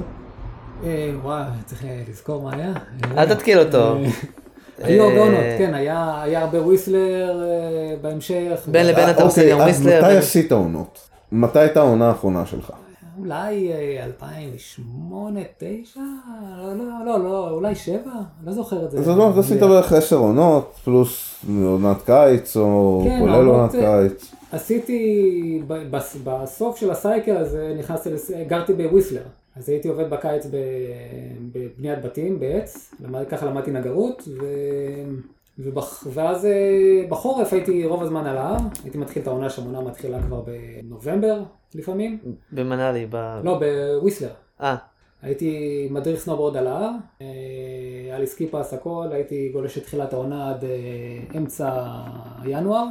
Speaker 3: אה, וואי, צריך אה, לזכור מה היה.
Speaker 2: אל תתקיל אותו.
Speaker 3: אה, היו הרבה
Speaker 2: אה,
Speaker 3: עונות, כן, היה היה הרבה וויסלר אה, בהמשך.
Speaker 2: בין לבין אתה עושה
Speaker 1: אוקיי,
Speaker 2: יום
Speaker 1: אז
Speaker 2: מיסלר.
Speaker 1: מתי עשית עונות? מתי הייתה העונה האחרונה שלך?
Speaker 3: אולי אה, 2008, 2009? לא, לא, לא, לא, אולי 7? לא זוכר את זה.
Speaker 1: אז עונות, עשית בערך 10 עונות, פלוס עונת קיץ, או
Speaker 3: כן,
Speaker 1: כולל
Speaker 3: העונות,
Speaker 1: עונת
Speaker 3: אה,
Speaker 1: קיץ.
Speaker 3: עשיתי, ב- בס- בסוף של הסייקל הזה נכנסתי, לס- גרתי בוויסלר. אז הייתי עובד בקיץ ב- בבניית בתים, בעץ, למד, ככה למדתי נגרות, ו... ובח... ואז אה, בחורף הייתי רוב הזמן על ההר, הייתי מתחיל את העונה שהעונה מתחילה כבר בנובמבר לפעמים,
Speaker 2: במנאלי, ב...
Speaker 3: לא, בוויסלר.
Speaker 2: אה,
Speaker 3: הייתי מדריך סנובורד על ההר, אה, היה לי סקיפס הכל, הייתי גולש את תחילת העונה עד אה, אמצע ינואר.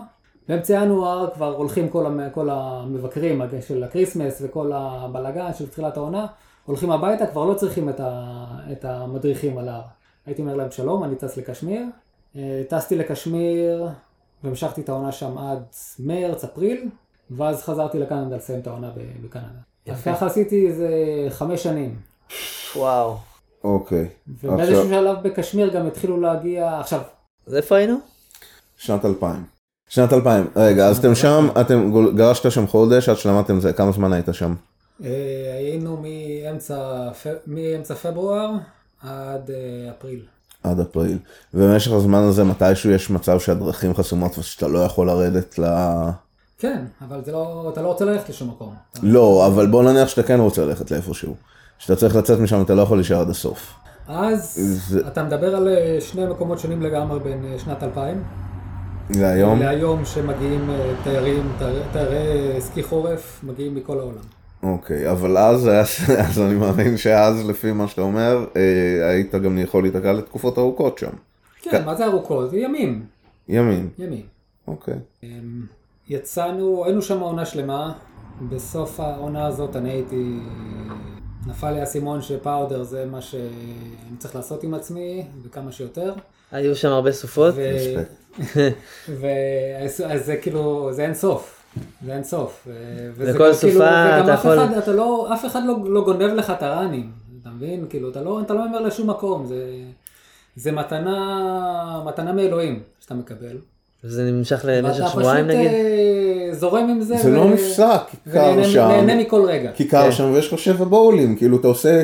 Speaker 3: באמצע ינואר כבר הולכים כל, המ... כל המבקרים של הקריסמס וכל הבלגן של תחילת העונה, הולכים הביתה, כבר לא צריכים את, ה... את המדריכים על ההר. הייתי אומר להם שלום, אני טס לקשמיר. אה, טסתי לקשמיר והמשכתי את העונה שם עד מרץ, אפריל, ואז חזרתי לקנדה לסיים את העונה ב- בקנדה. אז
Speaker 2: יפה.
Speaker 3: ככה עשיתי איזה חמש שנים.
Speaker 2: וואו.
Speaker 1: אוקיי. עכשיו,
Speaker 3: ובאיזשהו שלב בקשמיר גם התחילו להגיע, עכשיו,
Speaker 2: אז איפה היינו?
Speaker 1: שנת 2000. שנת 2000. רגע, אז אתם שם, אתם גול- גלשת שם חודש, עד שלמדתם זה, כמה זמן היית שם?
Speaker 3: אה, היינו מאמצע, פ- מאמצע פברואר עד אה, אפריל.
Speaker 1: עד אפריל. ובמשך הזמן הזה מתישהו יש מצב שהדרכים חסומות ושאתה לא יכול לרדת ל...
Speaker 3: כן, אבל זה לא, אתה לא רוצה ללכת לשום מקום. אתה-
Speaker 1: לא, אבל בוא נניח שאתה כן רוצה ללכת לאיפשהו. שאתה צריך לצאת משם אתה לא יכול להישאר עד הסוף.
Speaker 3: אז
Speaker 1: זה-
Speaker 3: אתה מדבר על אה, שני מקומות שונים לגמרי בין אה, שנת 2000
Speaker 1: והיום?
Speaker 3: להיום שמגיעים אה, תיירים, תיירי- תיירי אה, סקי חורף, מגיעים מכל העולם.
Speaker 1: אוקיי, אבל אז, היה- אז אני מאמין שאז לפי מה שאתה אומר, אה, היית גם יכול להיתקע לתקופות ארוכות שם.
Speaker 3: כן,
Speaker 1: כן.
Speaker 3: מה זה ארוכות? זה ימים,
Speaker 1: ימים.
Speaker 3: ימים.
Speaker 1: אוקיי.
Speaker 3: אמ, יצאנו, היינו שם עונה שלמה, בסוף העונה הזאת אני הייתי, נפל לי האסימון שפאודר זה מה שאני צריך לעשות עם עצמי, וכמה שיותר.
Speaker 2: היו שם הרבה סופות?
Speaker 3: ו-
Speaker 1: רספקט.
Speaker 3: ואז אז זה כאילו, זה אין סוף. זה אין סוף. ו- וזה
Speaker 2: לכל
Speaker 3: גם
Speaker 2: סופה
Speaker 3: כאילו- וגם
Speaker 2: אתה
Speaker 3: אף
Speaker 2: יכול-
Speaker 3: אחד, אתה לא, אף אחד לא, לא גונב לך את הראנים, אתה מבין? כאילו, אתה לא, אתה לא אומר לשום מקום, זה, זה מתנה, מתנה מאלוהים שאתה מקבל.
Speaker 2: וזה נמשך למשך
Speaker 3: ואתה
Speaker 2: שבועיים
Speaker 3: פשוט,
Speaker 2: נגיד?
Speaker 3: אה, זורם עם זה.
Speaker 1: זה לא נפסק,
Speaker 3: ונהנה
Speaker 1: קר שם.
Speaker 3: נהנה מכל רגע.
Speaker 1: כי קר
Speaker 2: כן.
Speaker 1: שם ויש לך שבע בולים, כאילו אתה עושה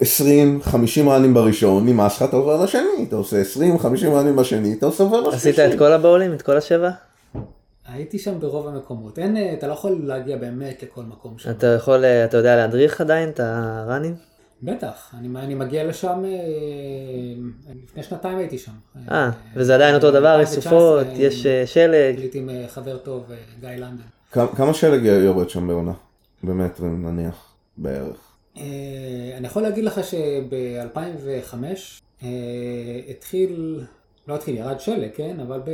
Speaker 1: 20, 50 ראנים בראשון, נמאס לך, אתה עובר לשני, אתה עושה 20, 50 ראנים בשני, אתה עושה עובר לשלישי.
Speaker 2: עשית את כל הבאולים? את כל השבע?
Speaker 3: הייתי שם ברוב המקומות. אין, אה, אתה לא יכול להגיע באמת לכל מקום שם.
Speaker 2: אתה יכול, אה, אתה יודע להדריך עדיין את הראנים?
Speaker 3: בטח, אני, אני מגיע לשם, אה, לפני שנתיים הייתי שם.
Speaker 2: אה, וזה עדיין אותו דבר, יש סופות, יש אה, שלג.
Speaker 3: הקליט עם אה, חבר טוב, אה, גיא לנדן.
Speaker 1: כמה- כמה שלג יורד שם בעונה? במטרים נניח, בערך.
Speaker 3: אה, אני יכול להגיד לך שב-2005 התחיל, לא התחיל, ירד שלג, כן? אבל ב-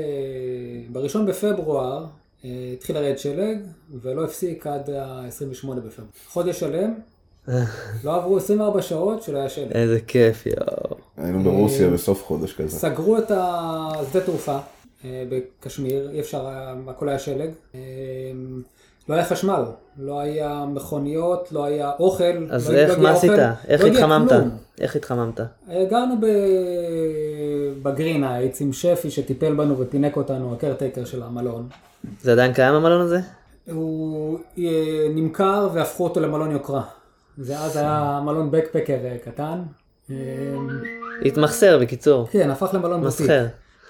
Speaker 3: בראשון בפברואר אה, התחיל לרדת שלג, ולא הפסיק עד ה-28 בפברואר. חודש שלם, לא עברו 24 שעות שלא היה שלג.
Speaker 2: איזה כיף, יואו.
Speaker 3: אה,
Speaker 1: היינו ברוסיה בסוף חודש כזה.
Speaker 3: סגרו את השדה תעופה אה, בקשמיר, אי אפשר, היה- הכל היה שלג. אה, לא היה חשמל, לא היה מכוניות, לא היה אוכל.
Speaker 2: אז
Speaker 3: לא- לא
Speaker 2: איך,
Speaker 3: הגיע
Speaker 2: מה
Speaker 3: אוכל,
Speaker 2: עשית? איך
Speaker 3: לא הגיע
Speaker 2: התחממת?
Speaker 3: כלום.
Speaker 2: איך התחממת?
Speaker 3: אה, גרנו ב... בגרין הייטס עם שפי שטיפל בנו ופינק אותנו, הקרטייקר של המלון.
Speaker 2: זה עדיין קיים המלון הזה?
Speaker 3: הוא אה, נמכר והפכו אותו למלון יוקרה. ואז היה מלון בקפקר אה, קטן. אה,
Speaker 2: התמחסר בקיצור,
Speaker 3: כן, הפך למלון בוטיק.
Speaker 2: מסחר,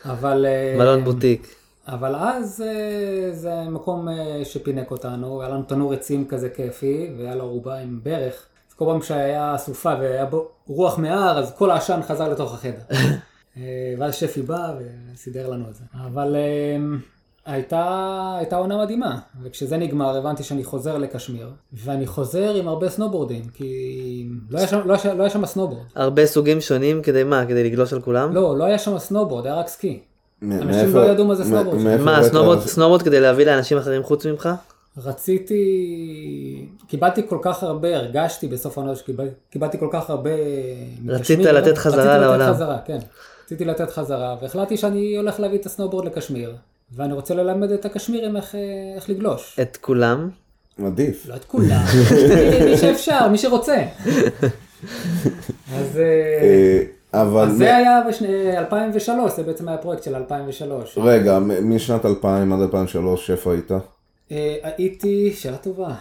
Speaker 3: אבל... אה,
Speaker 2: מלון בוטיק.
Speaker 3: אבל אז אה, זה מקום אה, שפינק אותנו, היה לנו תנור עצים כזה כיפי, והיה לו ערובה עם ברך. אז כל פעם שהיה סופה והיה בו רוח מהר, אז כל העשן חזר לתוך החדר. אה, ואז שפי בא וסידר לנו את זה. אבל אה, הייתה, הייתה עונה מדהימה, וכשזה נגמר הבנתי שאני חוזר לקשמיר, ואני חוזר עם הרבה סנובורדים, כי לא היה שם, לא היה שם, לא היה שם סנובורד.
Speaker 2: הרבה סוגים שונים כדי מה? כדי לגלוש על כולם?
Speaker 3: לא, לא היה שם סנובורד, היה רק סקי.
Speaker 1: מאיפה-
Speaker 3: אנשים לא ידעו מה זה
Speaker 1: מ-
Speaker 3: סנובורד.
Speaker 1: מאיפה
Speaker 2: מה,
Speaker 1: הבאת
Speaker 2: סנובורד-
Speaker 1: את זה?
Speaker 2: סנובורד כדי להביא לאנשים אחרים חוץ ממך?
Speaker 3: רציתי, קיבלתי כל כך הרבה, הרגשתי בסוף העונה שקיבלתי כל כך הרבה...
Speaker 2: רצית
Speaker 3: מקשמיר.
Speaker 2: לתת חזרה
Speaker 3: רציתי
Speaker 2: לעולם.
Speaker 3: לתת חזרה, כן. רציתי לתת חזרה, והחלטתי שאני הולך להביא את הסנובורד לקשמיר, ואני רוצה ללמד את הקשמירים איך, אה, איך לגלוש.
Speaker 2: את כולם?
Speaker 1: עדיף.
Speaker 3: לא את כולם, מי שאפשר, מי שרוצה. אז... אה,
Speaker 1: אה, אבל...
Speaker 3: אז
Speaker 1: מ-
Speaker 3: זה היה ב-2003, זה בעצם היה פרויקט של 2003.
Speaker 1: רגע, מ- משנת 2000 עד 2003, איפה היית?
Speaker 3: אה, הייתי, שאלה טובה, אה,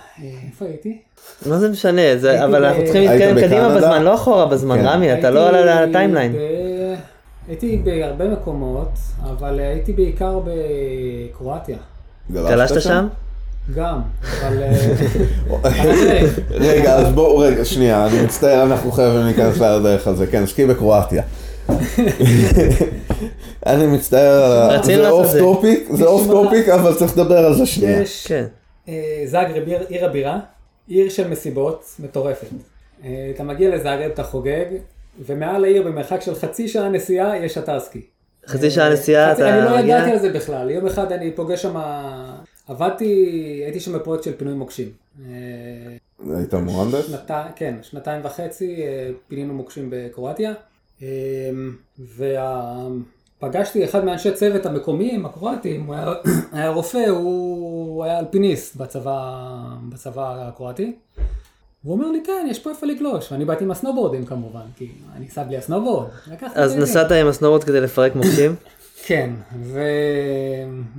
Speaker 3: איפה הייתי?
Speaker 2: מה זה משנה? זה-
Speaker 3: הייתי
Speaker 2: אבל
Speaker 3: ב-
Speaker 2: אנחנו צריכים
Speaker 1: היית
Speaker 2: להתקדם קדימה
Speaker 1: בקנדה?
Speaker 2: בזמן, לא אחורה בזמן,
Speaker 1: כן.
Speaker 2: רמי, אתה
Speaker 3: הייתי
Speaker 2: לא על הטיימליין.
Speaker 3: ב- הייתי בהרבה מקומות, אבל אה, הייתי בעיקר בקרואטיה.
Speaker 2: גלשת שם?
Speaker 3: גם, אבל... אה, אבל,
Speaker 1: רגע, אז בואו, רגע, שנייה, אני מצטער, אנחנו חייבים להיכנס לדרך הזה, כן, סקי בקרואטיה. אני מצטער,
Speaker 2: רצינו
Speaker 1: זה
Speaker 2: לעשות
Speaker 1: אוף
Speaker 2: זה.
Speaker 1: טופיק, זה אוף טופיק, אבל צריך לדבר על זה שנייה.
Speaker 3: יש
Speaker 2: כן.
Speaker 3: אה, זאגרב, עיר- עיר הבירה, עיר של מסיבות מטורפת. אה, אתה מגיע לזאגרב, אתה חוגג, ומעל העיר במרחק של חצי שעה נסיעה יש אתר סקי.
Speaker 2: חצי שעה נסיעה
Speaker 3: חצי-
Speaker 2: אתה
Speaker 3: אני לא
Speaker 2: מגיע?
Speaker 3: ידעתי על זה בכלל, יום אחד אני פוגש שם, עבדתי, הייתי שם בפרויקט של פינוי מוקשים. אה,
Speaker 1: היית מוהנדס?
Speaker 3: שנתי, כן, שנתיים וחצי אה, פינינו מוקשים בקרואטיה. אה, ופגשתי אחד מאנשי צוות המקומיים, הקרואטים, הוא היה, היה רופא, הוא, הוא היה אלפיניסט בצבא, בצבא הקרואטי. והוא אומר לי, כן, יש פה איפה לגלוש. ואני באתי עם הסנובורדים כמובן, כי אני סע בלי הסנובורד. לקחתי
Speaker 2: אז
Speaker 3: את זה.
Speaker 2: נסעת עם הסנובורד כדי לפרק מוקשים?
Speaker 3: כן, ו...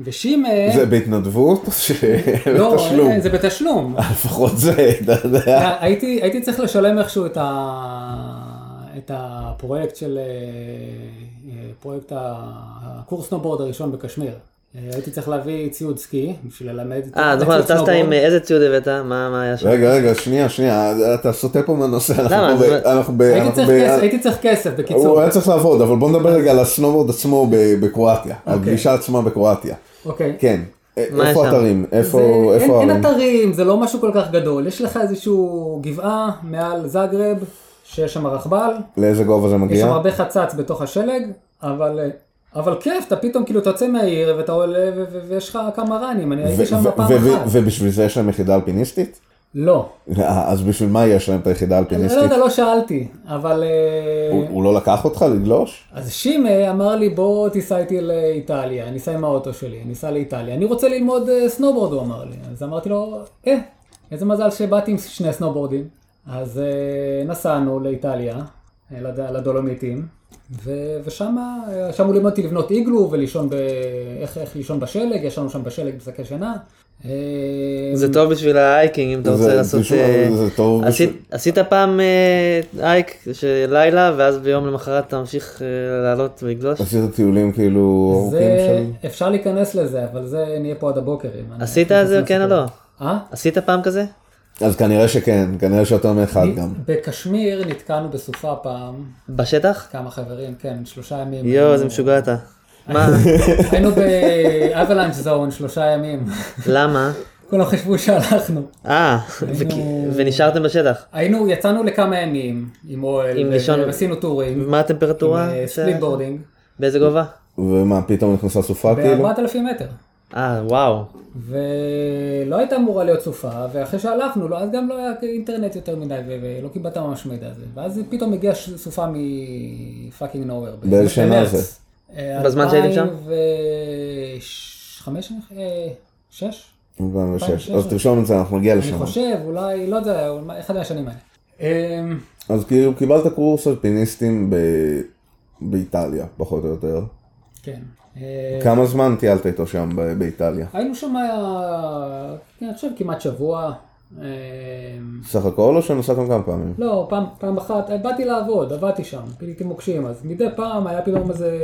Speaker 3: ושימא...
Speaker 1: זה בהתנדבות? או ש-
Speaker 3: לא,
Speaker 1: בתשלום.
Speaker 3: אה, זה בתשלום.
Speaker 1: לפחות זה, אתה יודע.
Speaker 3: היה- הייתי, הייתי צריך לשלם איכשהו את, ה... את הפרויקט של, אה, אה, פרויקט ה- הקורס סנובורד הראשון בקשמיר. אה, הייתי צריך להביא ציוד סקי בשביל ללמד את
Speaker 2: אה,
Speaker 3: את
Speaker 2: נכון,
Speaker 3: הציוד
Speaker 2: טסת עם
Speaker 3: סנובורד.
Speaker 2: איזה ציוד הבאת? מה מה היה שם?
Speaker 1: רגע, רגע, שנייה, שנייה, אתה סוטה פה מהנושא,
Speaker 2: למה?
Speaker 1: אנחנו ב...
Speaker 2: זה-
Speaker 1: אנחנו ב-
Speaker 3: הייתי
Speaker 1: אנחנו
Speaker 3: צריך
Speaker 1: ב-
Speaker 3: כסף- הייתי צריך כסף,
Speaker 1: הוא
Speaker 3: בקיצור.
Speaker 1: היה צריך לעבוד, אבל בוא נדבר רגע על הסנובורד עצמו ב- בקרואטיה, הגלישה עצמה בקרואטיה.
Speaker 3: אוקיי.
Speaker 1: כן, א-
Speaker 2: מה
Speaker 1: איפה
Speaker 2: יש שם?
Speaker 1: אתרים? איפה
Speaker 3: זה- אין-
Speaker 1: איפה
Speaker 3: אין
Speaker 1: הערים?
Speaker 3: אתרים, זה לא משהו כל כך גדול. יש לך איזשהו גבעה מעל זאגרב, שיש שם רכבל,
Speaker 1: לאיזה גובה זה
Speaker 3: יש
Speaker 1: מגיע?
Speaker 3: שם הרבה חצץ בתוך השלג, אבל... אה, אבל כיף, אתה פתאום כאילו אתה יוצא מהעיר ואתה עולה ו- ו- ויש לך כמה ראנים, אני הייתי
Speaker 1: ו-
Speaker 3: שם
Speaker 1: ו-
Speaker 3: פעם
Speaker 1: ו- ו-
Speaker 3: אחת.
Speaker 1: ובשביל זה יש להם יחידה אלפיניסטית?
Speaker 3: לא.
Speaker 1: אה, אז בשביל מה יש להם את היחידה
Speaker 3: אני לא
Speaker 1: האלפיניסטית?
Speaker 3: יודע, לא שאלתי, אבל... אה,
Speaker 1: הוא הוא לא לקח אותך לגלוש?
Speaker 3: אז שימה אמר לי, בוא תיסע איתי לאיטליה, ניסע עם האוטו שלי, ניסע לאיטליה. אני רוצה ללמוד אה, סנובורד, הוא אמר לי. אז אמרתי לו, אה, איזה מזל שבאתי עם שני סנובורדים. אז אה, נסענו לאיטליה, אה, לד- לדולומיטים, ו- ושם אה, שם הוא לימד אותי לבנות איגלו ולישון ב... איך, איך לישון בשלג, ישנו שם בשלג בשקי שינה. אה,
Speaker 2: זה טוב בשביל ההייקינג אם אתה
Speaker 1: זה-
Speaker 2: רוצה לעשות...
Speaker 1: תשמע,
Speaker 2: אה,
Speaker 1: זה טוב
Speaker 2: עשית-
Speaker 1: בשביל-
Speaker 2: עשית פעם אה, הייק של לילה ואז ביום למחרת אתה ממשיך אה, לעלות ולגלוש?
Speaker 1: עשית טיולים כאילו ארוכים
Speaker 2: כן,
Speaker 3: זה,
Speaker 1: של...
Speaker 3: אפשר להיכנס לזה, אבל זה נהיה פה עד הבוקר. אם אני-
Speaker 2: עשית את זה
Speaker 3: נכנס
Speaker 2: כן או
Speaker 3: לזה.
Speaker 2: לא?
Speaker 3: אה?
Speaker 2: עשית פעם כזה?
Speaker 1: אז כנראה שכן, כנראה שיותר מאחד גם.
Speaker 3: בקשמיר נתקענו בסופה פעם,
Speaker 2: בשטח?
Speaker 3: כמה חברים, כן, שלושה ימים.
Speaker 2: יואו,
Speaker 3: היינו-
Speaker 2: איזה משוגע אתה. מה?
Speaker 3: היינו באבלנץ' זון שלושה ימים,
Speaker 2: למה?
Speaker 3: כולם חשבו שהלכנו.
Speaker 2: אה,
Speaker 3: היינו-
Speaker 2: ו- ונשארתם בשטח.
Speaker 3: היינו, יצאנו לכמה ימים עם אוהל,
Speaker 2: עם
Speaker 3: ו-
Speaker 2: לישון-
Speaker 3: ועשינו טורים, אה,
Speaker 2: מה אה, הטמפרטורה?
Speaker 3: ספליט בורדינג,
Speaker 2: באיזה גובה?
Speaker 1: ומה, פתאום נכנסה סופה כאילו?
Speaker 3: ב-4,000 מטר.
Speaker 2: אה, וואו.
Speaker 3: ולא הייתה אמורה להיות סופה, ואחרי שהלכנו, לא, אז גם לא היה אינטרנט יותר מדי, ו- ולא קיבלת ממש מידע הזה. ואז פתאום הגיעה ש- סופה מפאקינג נוואר.
Speaker 1: באיזה שנה זה?
Speaker 3: אה,
Speaker 2: בזמן שהייתם שם?
Speaker 3: 2005? 6?
Speaker 1: 2006. כאילו? אז
Speaker 3: 2006.
Speaker 1: תרשום את זה, אנחנו נגיע
Speaker 3: אני
Speaker 1: לשם.
Speaker 3: חושב, אולי, לא יודע, אולי אחד מהשנים האלה. אמ,
Speaker 1: אז כאילו קיבלת קורס אלפיניסטים ב- באיטליה, פחות או יותר.
Speaker 3: כן. אה,
Speaker 1: כמה זמן טיילת איתו שם ב- באיטליה?
Speaker 3: היינו שם, אה, אני חושב, כמעט שבוע. אה,
Speaker 1: סך הכל או שנסעתם כמה פעמים?
Speaker 3: לא, פעם, פעם אחת, אה, באתי לעבוד, עבדתי שם, פיליתי מוקשים, אז מדי פעם היה פתאום איזה,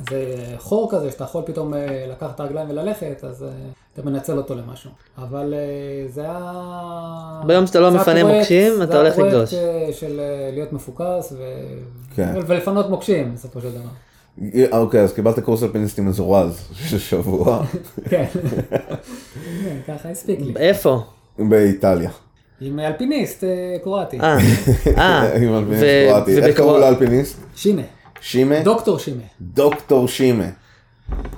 Speaker 3: איזה חור כזה שאתה יכול פתאום אה, לקחת את הרגליים וללכת, אז אה, אתה מנצל אותו למשהו. אבל אה, זה היה...
Speaker 2: ביום שאתה לא
Speaker 3: זה היה
Speaker 2: מפנה
Speaker 3: פרויקט-
Speaker 2: מוקשים, אתה הולך לגלוש.
Speaker 3: זה היה פרויקט אה, של אה, להיות מפוקס ו...
Speaker 1: כן.
Speaker 3: ו- ולפנות מוקשים, בסופו של דבר.
Speaker 1: אה, אוקיי, אז קיבלת קורס אלפיניסטים מזורז של שבוע
Speaker 3: כן, כן, ככה הספיק לי.
Speaker 2: איפה?
Speaker 1: באיטליה.
Speaker 3: עם אלפיניסט אה, קרואטי,
Speaker 2: אה, אה,
Speaker 1: עם אלפיניסט
Speaker 2: ו-
Speaker 1: קרואטי. איך
Speaker 2: ובקרוא-
Speaker 1: קראו לאלפיניסט?
Speaker 3: שימה,
Speaker 1: שימה?
Speaker 3: דוקטור שימה.
Speaker 1: דוקטור שימה.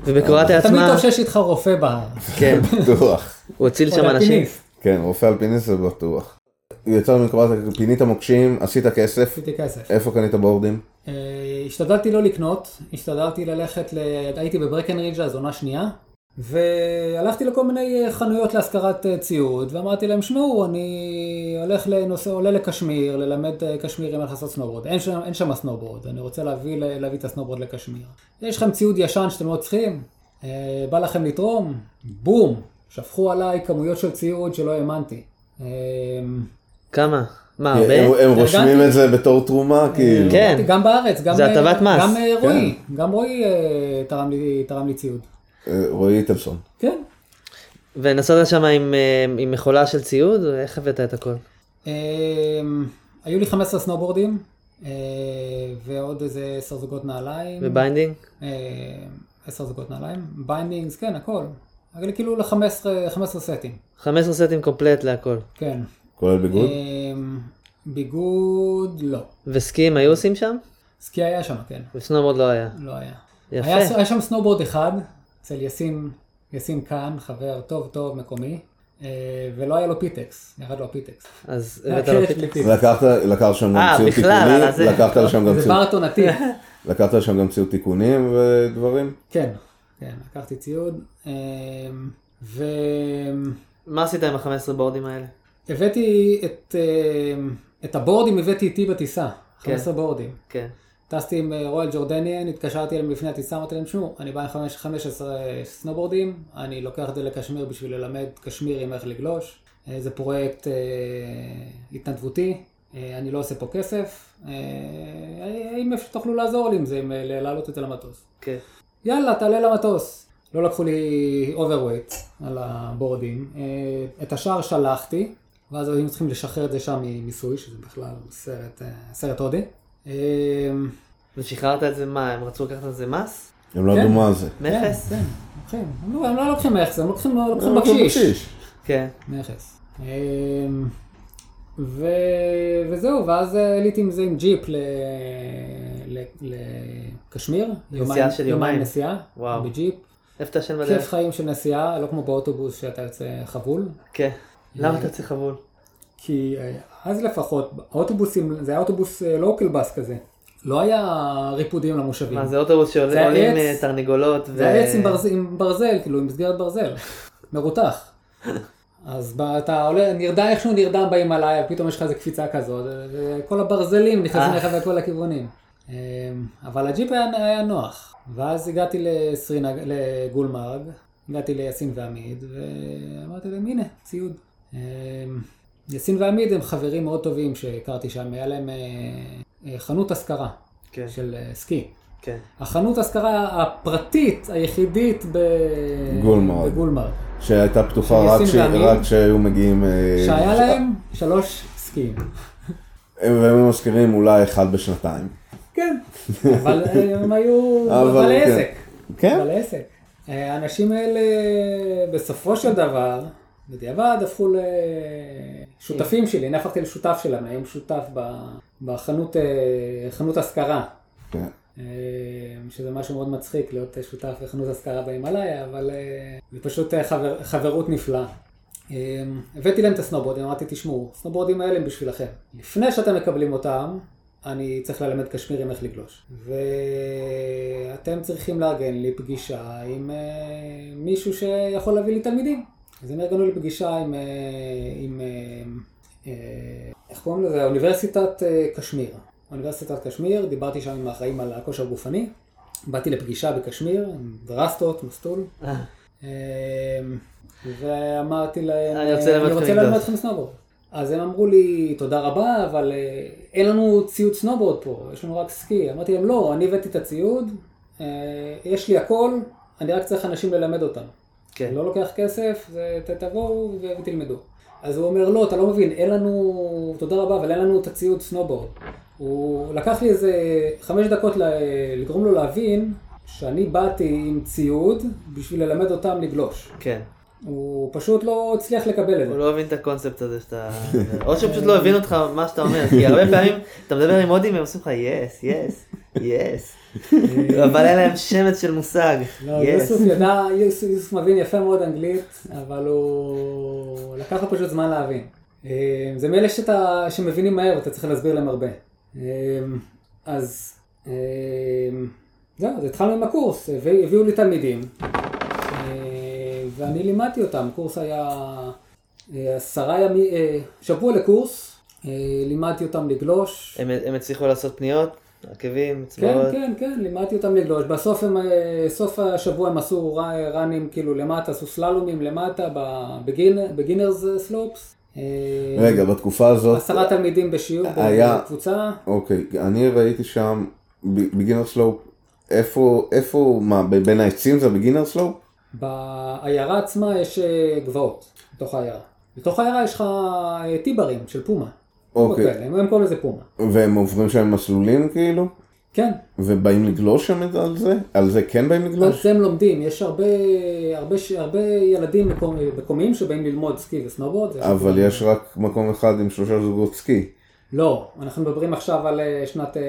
Speaker 2: ובקרואטיה
Speaker 3: תמיד
Speaker 2: עצמה,
Speaker 3: טוב שיש איתך רופא בהר.
Speaker 2: כן,
Speaker 1: בטוח.
Speaker 2: הוא הציל שם
Speaker 3: או
Speaker 2: אנשים.
Speaker 3: אלפיניסט.
Speaker 1: כן, רופא אלפיניסט זה בטוח. יצא מקרואטיה, פינית מוקשים, עשית כסף.
Speaker 3: עשיתי כסף.
Speaker 1: איפה קנית בורדים?
Speaker 3: אה, השתדלתי לא לקנות, השתדלתי ללכת, ל... הייתי בברקנרידג' אז עונה שנייה, והלכתי לכל מיני אה, חנויות להשכרת אה, ציוד, ואמרתי להם, שמעו, אני הולך לנושא, עולה לקשמיר, ללמד אה, קשמירים איך לעשות סנובורד. אין שם, אין שם סנובורד, אני רוצה להביא, ל- להביא את הסנובורד לקשמיר. יש לכם ציוד ישן שאתם לא צריכים? אה, בא לכם לתרום? בום! שפכו עליי כמויות של ציוד שלא האמנתי. אה,
Speaker 2: כמה? מה,
Speaker 1: הם
Speaker 2: הרבה?
Speaker 1: הם רושמים את זה בתור תרומה, כאילו.
Speaker 2: כן.
Speaker 3: גם בארץ, גם,
Speaker 2: זה הטבת מס. כן.
Speaker 3: גם אה, רועי, גם רועי אה, תרם לי, תרם לי ציוד.
Speaker 1: אה, רועי איטלסון.
Speaker 3: כן.
Speaker 2: ונסעת שם עם, אה, עם מכולה של ציוד? או איך הבאת את הכל?
Speaker 3: אה, היו לי 15 סנובורדים, אה, ועוד איזה 10 זוגות נעליים.
Speaker 2: וביינדינג?
Speaker 3: אה, 10 זוגות נעליים. ביינדינגס, כן, הכל. אבל כאילו ל-15 15 סטים,
Speaker 2: 15 סטים קומפלט להכל.
Speaker 3: כן.
Speaker 1: כולל ביגוד?
Speaker 3: אה, ביגוד, לא.
Speaker 2: וסקים היו עושים שם?
Speaker 3: סקי היה שם, כן.
Speaker 2: וסנובורד לא היה.
Speaker 3: לא היה.
Speaker 2: יפה.
Speaker 3: היה, היה שם סנובורד אחד, אצל יסים, יסים כאן, חבר טוב טוב מקומי, אה, ולא היה לו פיטקס, ירד לו הפיטקס.
Speaker 2: אז
Speaker 3: היה
Speaker 2: הבאת לו
Speaker 3: קרש
Speaker 2: פיתה.
Speaker 3: בלי פיטקס.
Speaker 1: לקחת לקחת שם גם
Speaker 2: אה,
Speaker 1: ציוד
Speaker 2: בכלל, על אה, זה.
Speaker 1: תיקונים, לקחת לשם גם
Speaker 3: זה
Speaker 1: ציוד-
Speaker 3: בר עונתי,
Speaker 1: לקחת לשם גם ציוד תיקונים ודברים.
Speaker 3: כן, כן, לקחתי ציוד, אה, והבאתי
Speaker 2: מה עשית עם ה-15 בורדים האלה?
Speaker 3: את, אה, את הבורדים, הבאתי איתי בטיסה,
Speaker 2: כן.
Speaker 3: 15 בורדים.
Speaker 2: כן.
Speaker 3: טסתי עם אה, רועל ג'ורדניאן, התקשרתי אליהם לפני הטיסה, אמרתי להם, תשמעו, אני בא עם חמש- 15 סנובורדים, אני לוקח את זה לקשמיר בשביל ללמד קשמירים איך לגלוש. אה, זה פרויקט אה, התנדבותי, אה, אני לא עושה פה כסף. אה, האם אפשר- תוכלו לעזור לי עם זה, עם, אה, להעלות את זה למטוס?
Speaker 2: כן.
Speaker 3: יאללה, תעלה למטוס. לא לקחו לי אוברווייט על הבורדים. אה, את השאר שלחתי, ואז היו צריכים לשחרר את זה שם ממיסוי, שזה בכלל סרט, אה, סרט הודי. אה,
Speaker 2: ושחררת את זה מה? הם רצו לקחת על זה מס?
Speaker 1: הם לא
Speaker 3: כן.
Speaker 1: ידעו מה זה.
Speaker 2: מכס?
Speaker 3: כן, כן, לוקחים. הם לא- הם לא לוקחים מכס, הם לוקחים לוקחים
Speaker 1: הם לקחו
Speaker 3: בקשיש.
Speaker 2: כן.
Speaker 3: נכס. אמ, ו... וזהו, ואז עליתי עם זה עם ג'יפ ל... ל... לקשמיר. יומיים-
Speaker 2: של
Speaker 3: יומיים
Speaker 2: יומיים.
Speaker 3: נסיעה.
Speaker 2: וואו.
Speaker 3: בג'יפ.
Speaker 2: איפה אתה ישן
Speaker 3: כיף
Speaker 2: בדרך?
Speaker 3: חיים של נסיעה, לא כמו באוטובוס שאתה יוצא חבול.
Speaker 2: כן. למה אתה יוצא חבול?
Speaker 3: כי אה, אז לפחות, האוטובוסים, זה היה אוטובוס לוקל בס כזה. לא היה ריפודים למושבים.
Speaker 2: מה זה אוטובוס
Speaker 3: אה, זה היה
Speaker 2: שעולים
Speaker 3: עץ.
Speaker 2: אה, תרנגולות? ו-
Speaker 3: זה עץ עם ברז- עם ברזל, כאילו עם מסגרת ברזל, מרותח. אז ב- אתה עולה, נרדם איכשהו נרדם בהימאליה, פתאום יש לך איזה קפיצה כזאת, אה, כל הברזלים נכנסים
Speaker 2: אה.
Speaker 3: לך בכל הכיוונים. אה, אבל הג'יפ היה, היה נוח, ואז הגעתי לסרינג, לגולמרג, הגעתי ליסין ועמיד, ואמרתי להם, הנה, ציוד. אה, יסין ועמיד הם חברים מאוד טובים שהכרתי שם, היה להם אה, אה, חנות השכרה
Speaker 2: כן.
Speaker 3: של אה, סקי.
Speaker 2: כן.
Speaker 3: החנות השכרה הפרטית היחידית ב...
Speaker 1: גולמרג.
Speaker 3: בגולמרג.
Speaker 1: שהייתה פתוחה
Speaker 3: של
Speaker 1: רק
Speaker 3: יסין
Speaker 1: כש-
Speaker 3: ואמיר.
Speaker 1: רק כשהיו מגיעים... אה,
Speaker 3: שהיה
Speaker 1: ש-
Speaker 3: להם שלוש סקיים.
Speaker 1: הם- והם מזכירים אולי אחד בשנתיים.
Speaker 3: כן. אבל אה, הם היו...
Speaker 1: אבל
Speaker 3: אבל
Speaker 1: כן.
Speaker 3: עסק.
Speaker 1: כן?
Speaker 3: אבל עסק. אה, האנשים האלה בסופו של דבר, בדיעבד, הפכו
Speaker 1: כן.
Speaker 3: לשותפים שלי. אני הפכתי לשותף שלהם, אני היום שותף ב- בחנות אה, חנות השכרה.
Speaker 1: כן.
Speaker 3: אה, שזה משהו מאוד מצחיק להיות שותף לחנות השכרה בהימאליה, אבל אה, זה פשוט אה, חבר, חברות נפלאה. אה, הבאתי להם את הסנובורדים, אמרתי, תשמעו, הסנובורדים האלה הם בשבילכם. לפני שאתם מקבלים אותם, אני צריך ללמד קשמירים איך לגלוש. ואתם צריכים לארגן לי פגישה עם אה, מישהו שיכול להביא לי תלמידים. אז הם ארגנו לי פגישה עם, אה, עם אה, אה, איך קוראים לזה? אוניברסיטת אה, קשמיר. אוניברסיטת קשמיר, דיברתי שם עם האחראים על הכושר גופני, באתי לפגישה בקשמיר, עם דרסטות, מסטול, אה, ואמרתי להם, "אה,
Speaker 2: אני רוצה ללמד אתכם
Speaker 3: ללמד
Speaker 2: לקדוש."
Speaker 3: אתכם סנובורד. אז הם אמרו לי, תודה רבה, אבל אה, אין לנו ציוד סנובורד פה, יש לנו רק סקי. אמרתי להם, לא, אני הבאתי את הציוד, אה, יש לי הכל, אני רק צריך אנשים ללמד אותם.
Speaker 2: כן.
Speaker 3: לא לוקח כסף, זה, ת- תבואו ו- ותלמדו. אז הוא אומר, לא, אתה לא מבין, אין לנו, תודה רבה, אבל אין לנו את הציוד סנובורד. הוא לקח לי איזה חמש דקות ל- לגרום לו להבין שאני באתי עם ציוד בשביל ללמד אותם לגלוש.
Speaker 2: כן.
Speaker 3: הוא פשוט לא הצליח לקבל את זה.
Speaker 2: הוא לא הבין את הקונספט הזה שאתה... או שהוא פשוט לא הבין אותך מה שאתה אומר, כי הרבה פעמים אתה מדבר עם הודים והם עושים לך יס, יס, יס. אבל אין להם שמץ של מושג.
Speaker 3: אה, לא,
Speaker 2: יס.
Speaker 3: יוסוף ידע, יוס- יוסוף מבין יפה מאוד אנגלית, אבל הוא... לקח לו פשוט זמן להבין. אה, זה מאלה שאתה... שמבינים מהר, אתה צריך להסביר להם הרבה. אה, אז אה, זהו, אז התחלנו עם הקורס, הביא- הביאו לי תלמידים, אה, ואני לימדתי אותם. קורס היה אה, עשרה ימים, אה, שבוע לקורס, אה, לימדתי אותם לגלוש.
Speaker 2: הם הם הצליחו לעשות פניות, עקבים,
Speaker 3: כן,
Speaker 2: צבאות.
Speaker 3: כן, כן, לימדתי אותם לגלוש. בסוף הם, אה, סוף השבוע הם עשו ר- ראנים כאילו למטה, עשו סללומים למטה בגינרס סלופס.
Speaker 1: רגע, בתקופה הזאת,
Speaker 3: אה, עשרה תלמידים בשיעור,
Speaker 1: היה-
Speaker 3: בקבוצה.
Speaker 1: אוקיי, אני ראיתי שם בגינר סלופ, איפה, איפה, מה, ב- בין העצים זה בגינר סלופ?
Speaker 3: בעיירה עצמה יש אה, גבעות, בתוך העיירה. בתוך העיירה יש לך אה, טיברים של פומה.
Speaker 1: אוקיי.
Speaker 3: כאלה, הם הם קוראים לזה פומה.
Speaker 1: והם עוברים שם מסלולים כאילו?
Speaker 3: כן,
Speaker 1: ובאים לגלוש שם על זה? על זה כן באים
Speaker 3: על
Speaker 1: לגלוש?
Speaker 3: זה הם לומדים. יש הרבה, הרבה, ש- הרבה ילדים מקומ- מקומיים שבאים ללמוד סקי וסנובורד. זה
Speaker 1: אבל יש רק מקום אחד עם שלושה זוגות סקי.
Speaker 3: לא, אנחנו מדברים עכשיו על אה, שנת אה,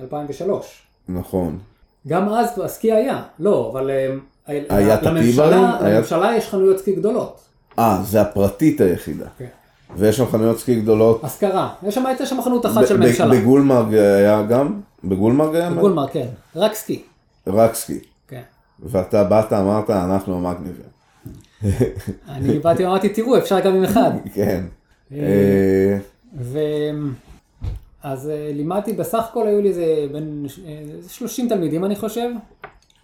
Speaker 3: 2003.
Speaker 1: נכון.
Speaker 3: גם אז כבר סקי היה, לא, אבל אה, ה-
Speaker 1: היה את
Speaker 3: לממשלה-
Speaker 1: הטיברים? היה-
Speaker 3: לממשלה יש חנויות סקי גדולות.
Speaker 1: אה, זה הפרטית היחידה.
Speaker 3: כן.
Speaker 1: ויש שם חנויות סקי גדולות.
Speaker 3: השכרה, יש שם, הייתה שם חנות
Speaker 1: ב-
Speaker 3: אחת של
Speaker 1: ב-
Speaker 3: ממשלה.
Speaker 1: בגולמרג היה גם? בגולמרג היה?
Speaker 3: בגולמר, כן, רק סקי.
Speaker 1: רק סקי.
Speaker 3: כן.
Speaker 1: ואתה באת, אמרת, אנחנו המגניבים.
Speaker 3: אני באתי ואמרתי, תראו, אפשר גם עם אחד.
Speaker 1: כן. אה,
Speaker 3: ו... אז אה, לימדתי, בסך הכל היו לי איזה בין ש- אה, איזה 30 תלמידים אני חושב,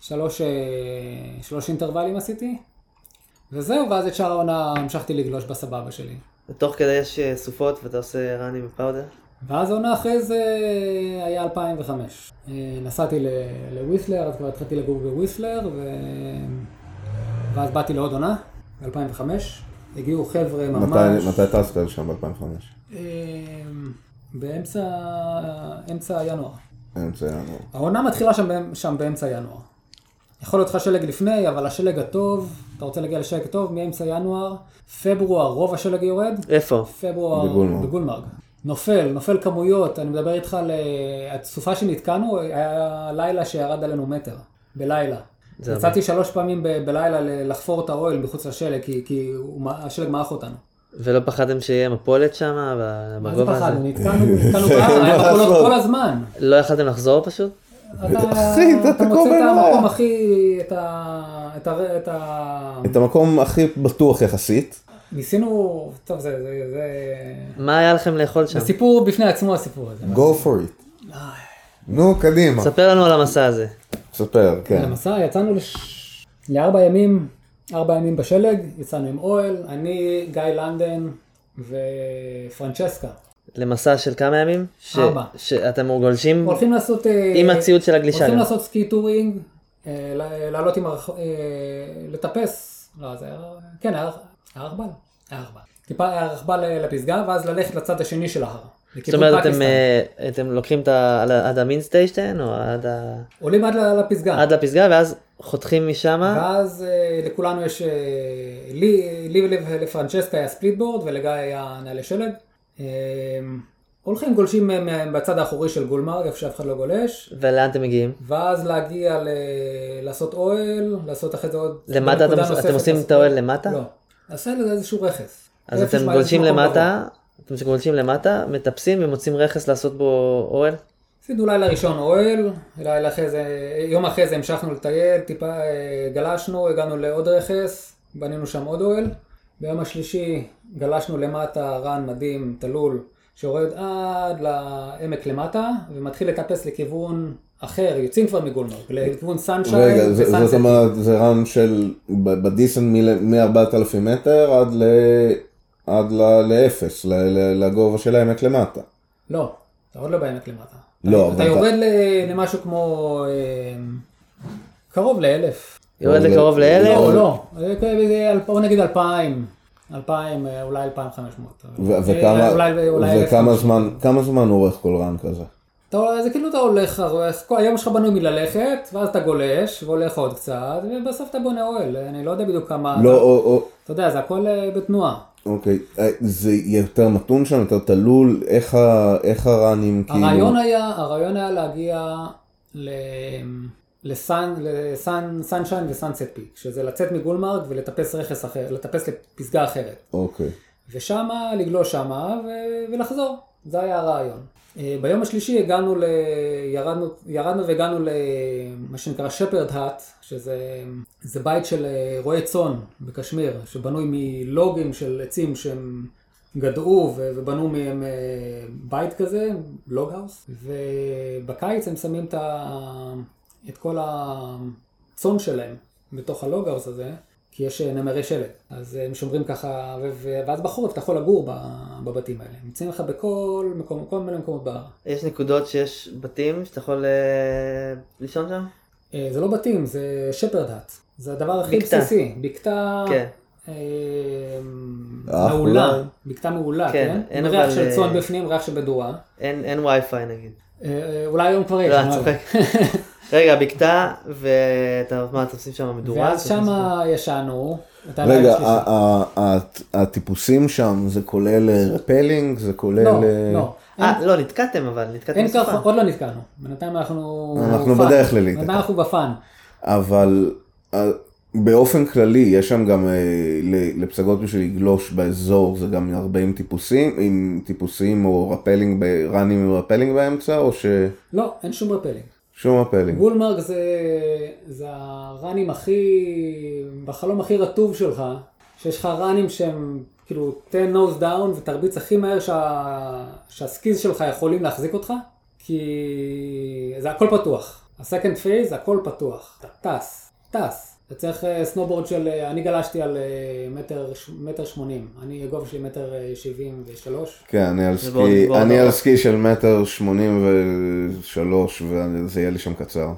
Speaker 3: שלוש, אה, שלוש אינטרוולים עשיתי, וזהו, ואז את שאר העונה המשכתי לגלוש בסבבה שלי.
Speaker 2: ותוך כדי יש אה, סופות ואתה עושה ראנים בפאודר.
Speaker 3: ואז העונה אחרי זה אה, היה 2005. אה, נסעתי ל- לוויסלר, אז כבר התחלתי לגור בוויסלר, ו... ואז באתי לעוד עונה, ב-2005. הגיעו חבר'ה ממש...
Speaker 1: מתי מתי טסת לשם ב-2005?
Speaker 3: אה, באמצע אה, אמצע ינואר.
Speaker 1: אמצע ינואר.
Speaker 3: העונה מתחילה שם, באמ- שם באמצע ינואר. יכול להיות לך שלג לפני, אבל השלג הטוב, אתה רוצה להגיע לשלג טוב, מאמצע ינואר, פברואר רוב השלג יורד,
Speaker 2: איפה?
Speaker 3: פברואר
Speaker 1: בגולמרג.
Speaker 3: בגולמרג. נופל, נופל כמויות, אני מדבר איתך על אה, הסופה שנתקענו, היה לילה שירד עלינו מטר, בלילה.
Speaker 2: זה
Speaker 3: יצאתי שלוש פעמים ב- בלילה ל- לחפור את האוהל מחוץ לשלג, כי, כי הוא מע- השלג מעך אותנו.
Speaker 2: ולא פחדתם שיהיה מפולת שם, ב-
Speaker 3: מה זה
Speaker 2: בגובה הזה?
Speaker 3: פחדנו, נתקענו, נתקענו בהר, היה
Speaker 1: מה
Speaker 3: מכולות
Speaker 1: לעשות?
Speaker 3: כל הזמן.
Speaker 2: לא יכלתם לחזור פשוט?
Speaker 1: אחי,
Speaker 3: אתה
Speaker 1: אתה
Speaker 3: אתה
Speaker 1: תקוע
Speaker 3: מוצא את
Speaker 1: בלילה.
Speaker 3: המקום הכי, את ה... את ה... את ה...
Speaker 1: את המקום הכי בטוח יחסית.
Speaker 3: ניסינו, טוב, זה... זה- זה...
Speaker 2: מה היה לכם לאכול שם?
Speaker 3: זה סיפור בפני עצמו הסיפור הזה.
Speaker 1: Go for it. נו, קדימה.
Speaker 2: ספר לנו על המסע הזה.
Speaker 1: ספר, כן.
Speaker 3: למסע יצאנו לש... לארבע ימים, ארבע ימים בשלג, יצאנו עם אוהל, אני, גיא לנדן ופרנצ'סקה.
Speaker 2: למסע של כמה ימים? ש-
Speaker 3: ארבע.
Speaker 2: שאתם גולשים?
Speaker 3: הולכים לעשות... אה,
Speaker 2: עם הציוד של הגלישה
Speaker 3: הולכים
Speaker 2: גם.
Speaker 3: לעשות סקי טורינג, אה, ל- לעלות עם הרח... אה, לטפס, לא, זה היה... כן, היה היה רכבל. היה רכבל. טיפה היה רכבל אה, לפסגה, ואז ללכת לצד השני של ההר.
Speaker 2: זאת
Speaker 3: לכיוון
Speaker 2: אומרת, אתם,
Speaker 3: פקיסטן.
Speaker 2: אה, אתם לוקחים את ה... על ה- עד המין סטיישטיין, או עד, ה...
Speaker 3: עולים עד ל- לפסגה.
Speaker 2: עד לפסגה, ואז חותכים משם,
Speaker 3: ואז אה, לכולנו יש, אה, לי לי ול- לפרנצ'סקה היה ספליטבורד ולגיא היה נעלי שלג. אה, הולכים גולשים אה, מה- בצד האחורי של גולמרג, איפה שאף אחד לא גולש.
Speaker 2: ולאן אתם מגיעים?
Speaker 3: ואז להגיע ל... לעשות אוהל, לעשות אחרי זה עוד...
Speaker 2: למטה
Speaker 3: נקודה
Speaker 2: אתם עוש-
Speaker 3: נוספת,
Speaker 2: אתם עושים
Speaker 3: לעשות-
Speaker 2: את האוהל למטה?
Speaker 3: לא. עשה לזה איזשהו רכס.
Speaker 2: אז
Speaker 3: רכס
Speaker 2: אתם
Speaker 3: מעל
Speaker 2: גולשים
Speaker 3: איזשהו מקום גבוה.
Speaker 2: למטה, אתם גולשים למטה, מטפסים ומוצאים רכס לעשות בו אוהל?
Speaker 3: עשינו לילה ראשון אוהל, לילה אחרי זה, יום אחרי זה המשכנו לטייל, טיפה אה, גלשנו, הגענו לעוד רכס, בנינו שם עוד אוהל. ביום השלישי גלשנו למטה, רן מדהים, תלול, שיורד עד לעמק למטה, ומתחיל לטפס לכיוון אחר, יוצאים כבר מגולמרג, לכיוון סנשיין
Speaker 1: רגע, זה- זאת
Speaker 3: וסאנסט.
Speaker 1: אומרת, זה רן של ב- בדיסן מ-4,000 מטר עד ל... עד ל- לאפס, ל- ל- לגובה של העמק למטה.
Speaker 3: לא, אתה עוד לא בעמק למטה.
Speaker 1: לא, אבל
Speaker 3: אתה
Speaker 1: אתה-
Speaker 3: יורד ל- למשהו כמו אה, קרוב לאלף.
Speaker 2: יורד לקרוב
Speaker 1: לא,
Speaker 2: לאלף?
Speaker 3: לא, לא, זה כ- זה אל- בוא נגיד אלפיים, אלפיים, אה, אולי אלפיים חמש מאות. אה,
Speaker 1: ו- וכמה, וכמה זמן, כמה זמן אורך כל רן כזה?
Speaker 3: אתה, זה כאילו אתה הולך, הולך, כל היום שלך בנוי מללכת, ואז אתה גולש, והולך עוד קצת, ובסוף אתה בונה אוהל, אני לא יודע בדיוק כמה,
Speaker 1: לא,
Speaker 3: אתה,
Speaker 1: או, או,
Speaker 3: אתה יודע, זה הכל אה, בתנועה.
Speaker 1: אוקיי, אה, זה יותר מתון שם, יותר תלול, איך, ה, איך הרנים כאילו...
Speaker 3: הרעיון היה, הרעיון היה להגיע ל... לסן, לסן, סנשיין וסאנסט פיק, שזה לצאת מגולמרג ולטפס רכס אחר, לטפס לפסגה אחרת.
Speaker 1: אוקיי,
Speaker 3: ושמה, לגלוש שמה ו... ולחזור, זה היה הרעיון. אה, ביום השלישי הגענו ל... ירדנו, ירדנו והגענו למה שנקרא שפרד האט, שזה זה בית של אה, רועי צאן בקשמיר, שבנוי מלוגים של עצים שהם גדעו ו... ובנו מהם אה, בית כזה, לוגהאוס, ובקיץ הם שמים את, ה... את כל הצאן שלהם בתוך הלוגהאוס הזה. כי יש אה, נמרי שלג, אז הם שומרים ככה, ו- ו- ואז בחורף אתה יכול לגור ב- בבתים האלה. הם נמצאים לך בכל מקום, כל מיני מקומות בהר.
Speaker 2: יש נקודות שיש בתים שאתה יכול אה, לישון שם?
Speaker 3: אה, זה לא בתים, זה שפרדהט. זה הדבר הכי
Speaker 2: בקתה.
Speaker 3: בסיסי. בקתה
Speaker 2: כן.
Speaker 3: אה,
Speaker 1: אה,
Speaker 3: מעולה,
Speaker 1: אולי.
Speaker 3: בקתה מעולה,
Speaker 2: כן,
Speaker 3: כן?
Speaker 2: אין
Speaker 3: עם ריח
Speaker 2: אבל,
Speaker 3: של צאן
Speaker 2: אה,
Speaker 3: בפנים, ריח של מדורה.
Speaker 2: אין אין וי-פיי נגיד.
Speaker 3: אה, אה, אולי היום כבר יש.
Speaker 2: לא,
Speaker 3: אני
Speaker 2: אני
Speaker 3: לא יודע.
Speaker 2: צוחק. רגע, בקתה, ואתה, מה, אתם עושים שם מדורה?
Speaker 3: ואז שמה ישנו. אתה
Speaker 1: רגע, אה,
Speaker 3: לילה שלישית.
Speaker 1: ה- ה- ה- הטיפוסים שם, זה כולל אה, רפלינג? זה כולל...
Speaker 3: לא,
Speaker 1: אה,
Speaker 3: לא.
Speaker 2: אה, לא, נתקעתם אבל, נתקעתם
Speaker 3: אין ככה,
Speaker 2: בסופה.
Speaker 3: עוד לא נתקענו. בינתיים אנחנו...
Speaker 1: אנחנו
Speaker 3: בפאן.
Speaker 1: בדרך לליטא.
Speaker 3: בינתיים אנחנו בפאן.
Speaker 1: אבל אה, באופן כללי, יש שם גם אה, ל- לפסגות בשביל לגלוש באזור, זה גם הרבה עם טיפוסים, עם טיפוסים או רפלינג, ב- ראנים עם רפלינג באמצע, או ש...
Speaker 3: לא, אין שום רפלינג.
Speaker 1: שום רפלינג.
Speaker 3: גולמרק זה, זה הראנים הכי, בחלום הכי רטוב שלך, שיש לך ראנים שהם כאילו תן nose down ותרביץ הכי מהר שה, שהסקיז שלך יכולים להחזיק אותך, כי זה הכל פתוח. הסקנד פייז הכל פתוח. אתה טס, טס. אתה צריך אה, סנובורד של, אה, אני גלשתי על אה, מטר, ש- מטר שמונים, אני הגובה שלי מטר אה, שבעים ושלוש.
Speaker 1: כן, אני על
Speaker 2: ועוד-
Speaker 1: סקי,
Speaker 2: ועוד
Speaker 1: אני
Speaker 2: דבר.
Speaker 1: על סקי של מטר שמונים ושלוש, וזה יהיה לי שם קצר.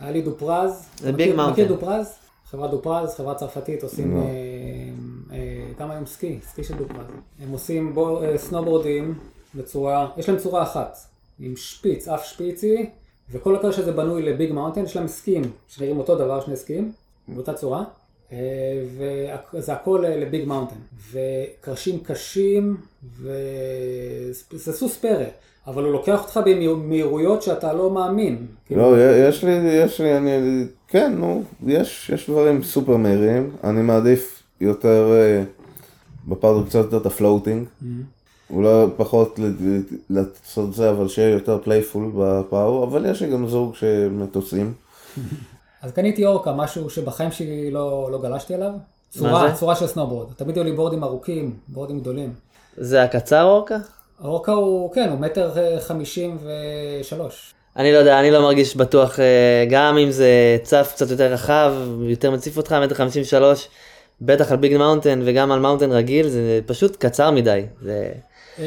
Speaker 3: היה לי דופרז.
Speaker 2: זה
Speaker 3: מכיר-
Speaker 2: ביג מאונטן.
Speaker 3: מכיר דופרז? חברת דופרז, חברה צרפתית, עושים
Speaker 1: לא.
Speaker 3: אה, אה, גם היום סקי, סקי של דופרז. הם עושים בו- אה, סנובורדים בצורה, יש להם צורה אחת, עם שפיץ, אף שפיצי, וכל הקרש הזה בנוי לביג מאונטן, יש להם סקים, שנראים אותו דבר, שני סקים, באותה צורה, אה, וזה הכל אה, לביג מאונטן. וקרשים קשים, וזה סוס פרא, אבל הוא לוקח אותך במהירויות שאתה לא מאמין. כאילו,
Speaker 1: לא, יש לי, יש לי, אני, כן, נו, יש, יש דברים סופר מהירים, אני מעדיף יותר, אה, בפארטו קצת יותר את הפלוטינג,
Speaker 2: Mm-hmm.
Speaker 1: אולי פחות ל- ל- לעשות זה, אבל שיהיה יותר פלייפול בפאו, אבל יש לי גם זוג שמטוסים.
Speaker 3: אז קניתי אורקה, משהו שבחיים שלי לא, לא גלשתי עליו.
Speaker 2: זה?
Speaker 3: צורה, צורה של סנובורד. תמיד היו לי בורדים ארוכים, בורדים גדולים.
Speaker 2: זה הקצר אורקה?
Speaker 3: האורקה הוא, כן, הוא מטר אה, חמישים ושלוש.
Speaker 2: אני לא יודע, אני לא מרגיש בטוח, אה, גם אם זה צף קצת יותר רחב, יותר מציף אותך, מטר חמישים ושלוש, בטח על ביג מאונטן וגם על מאונטן רגיל, זה פשוט קצר מדי. זה...
Speaker 3: אמ,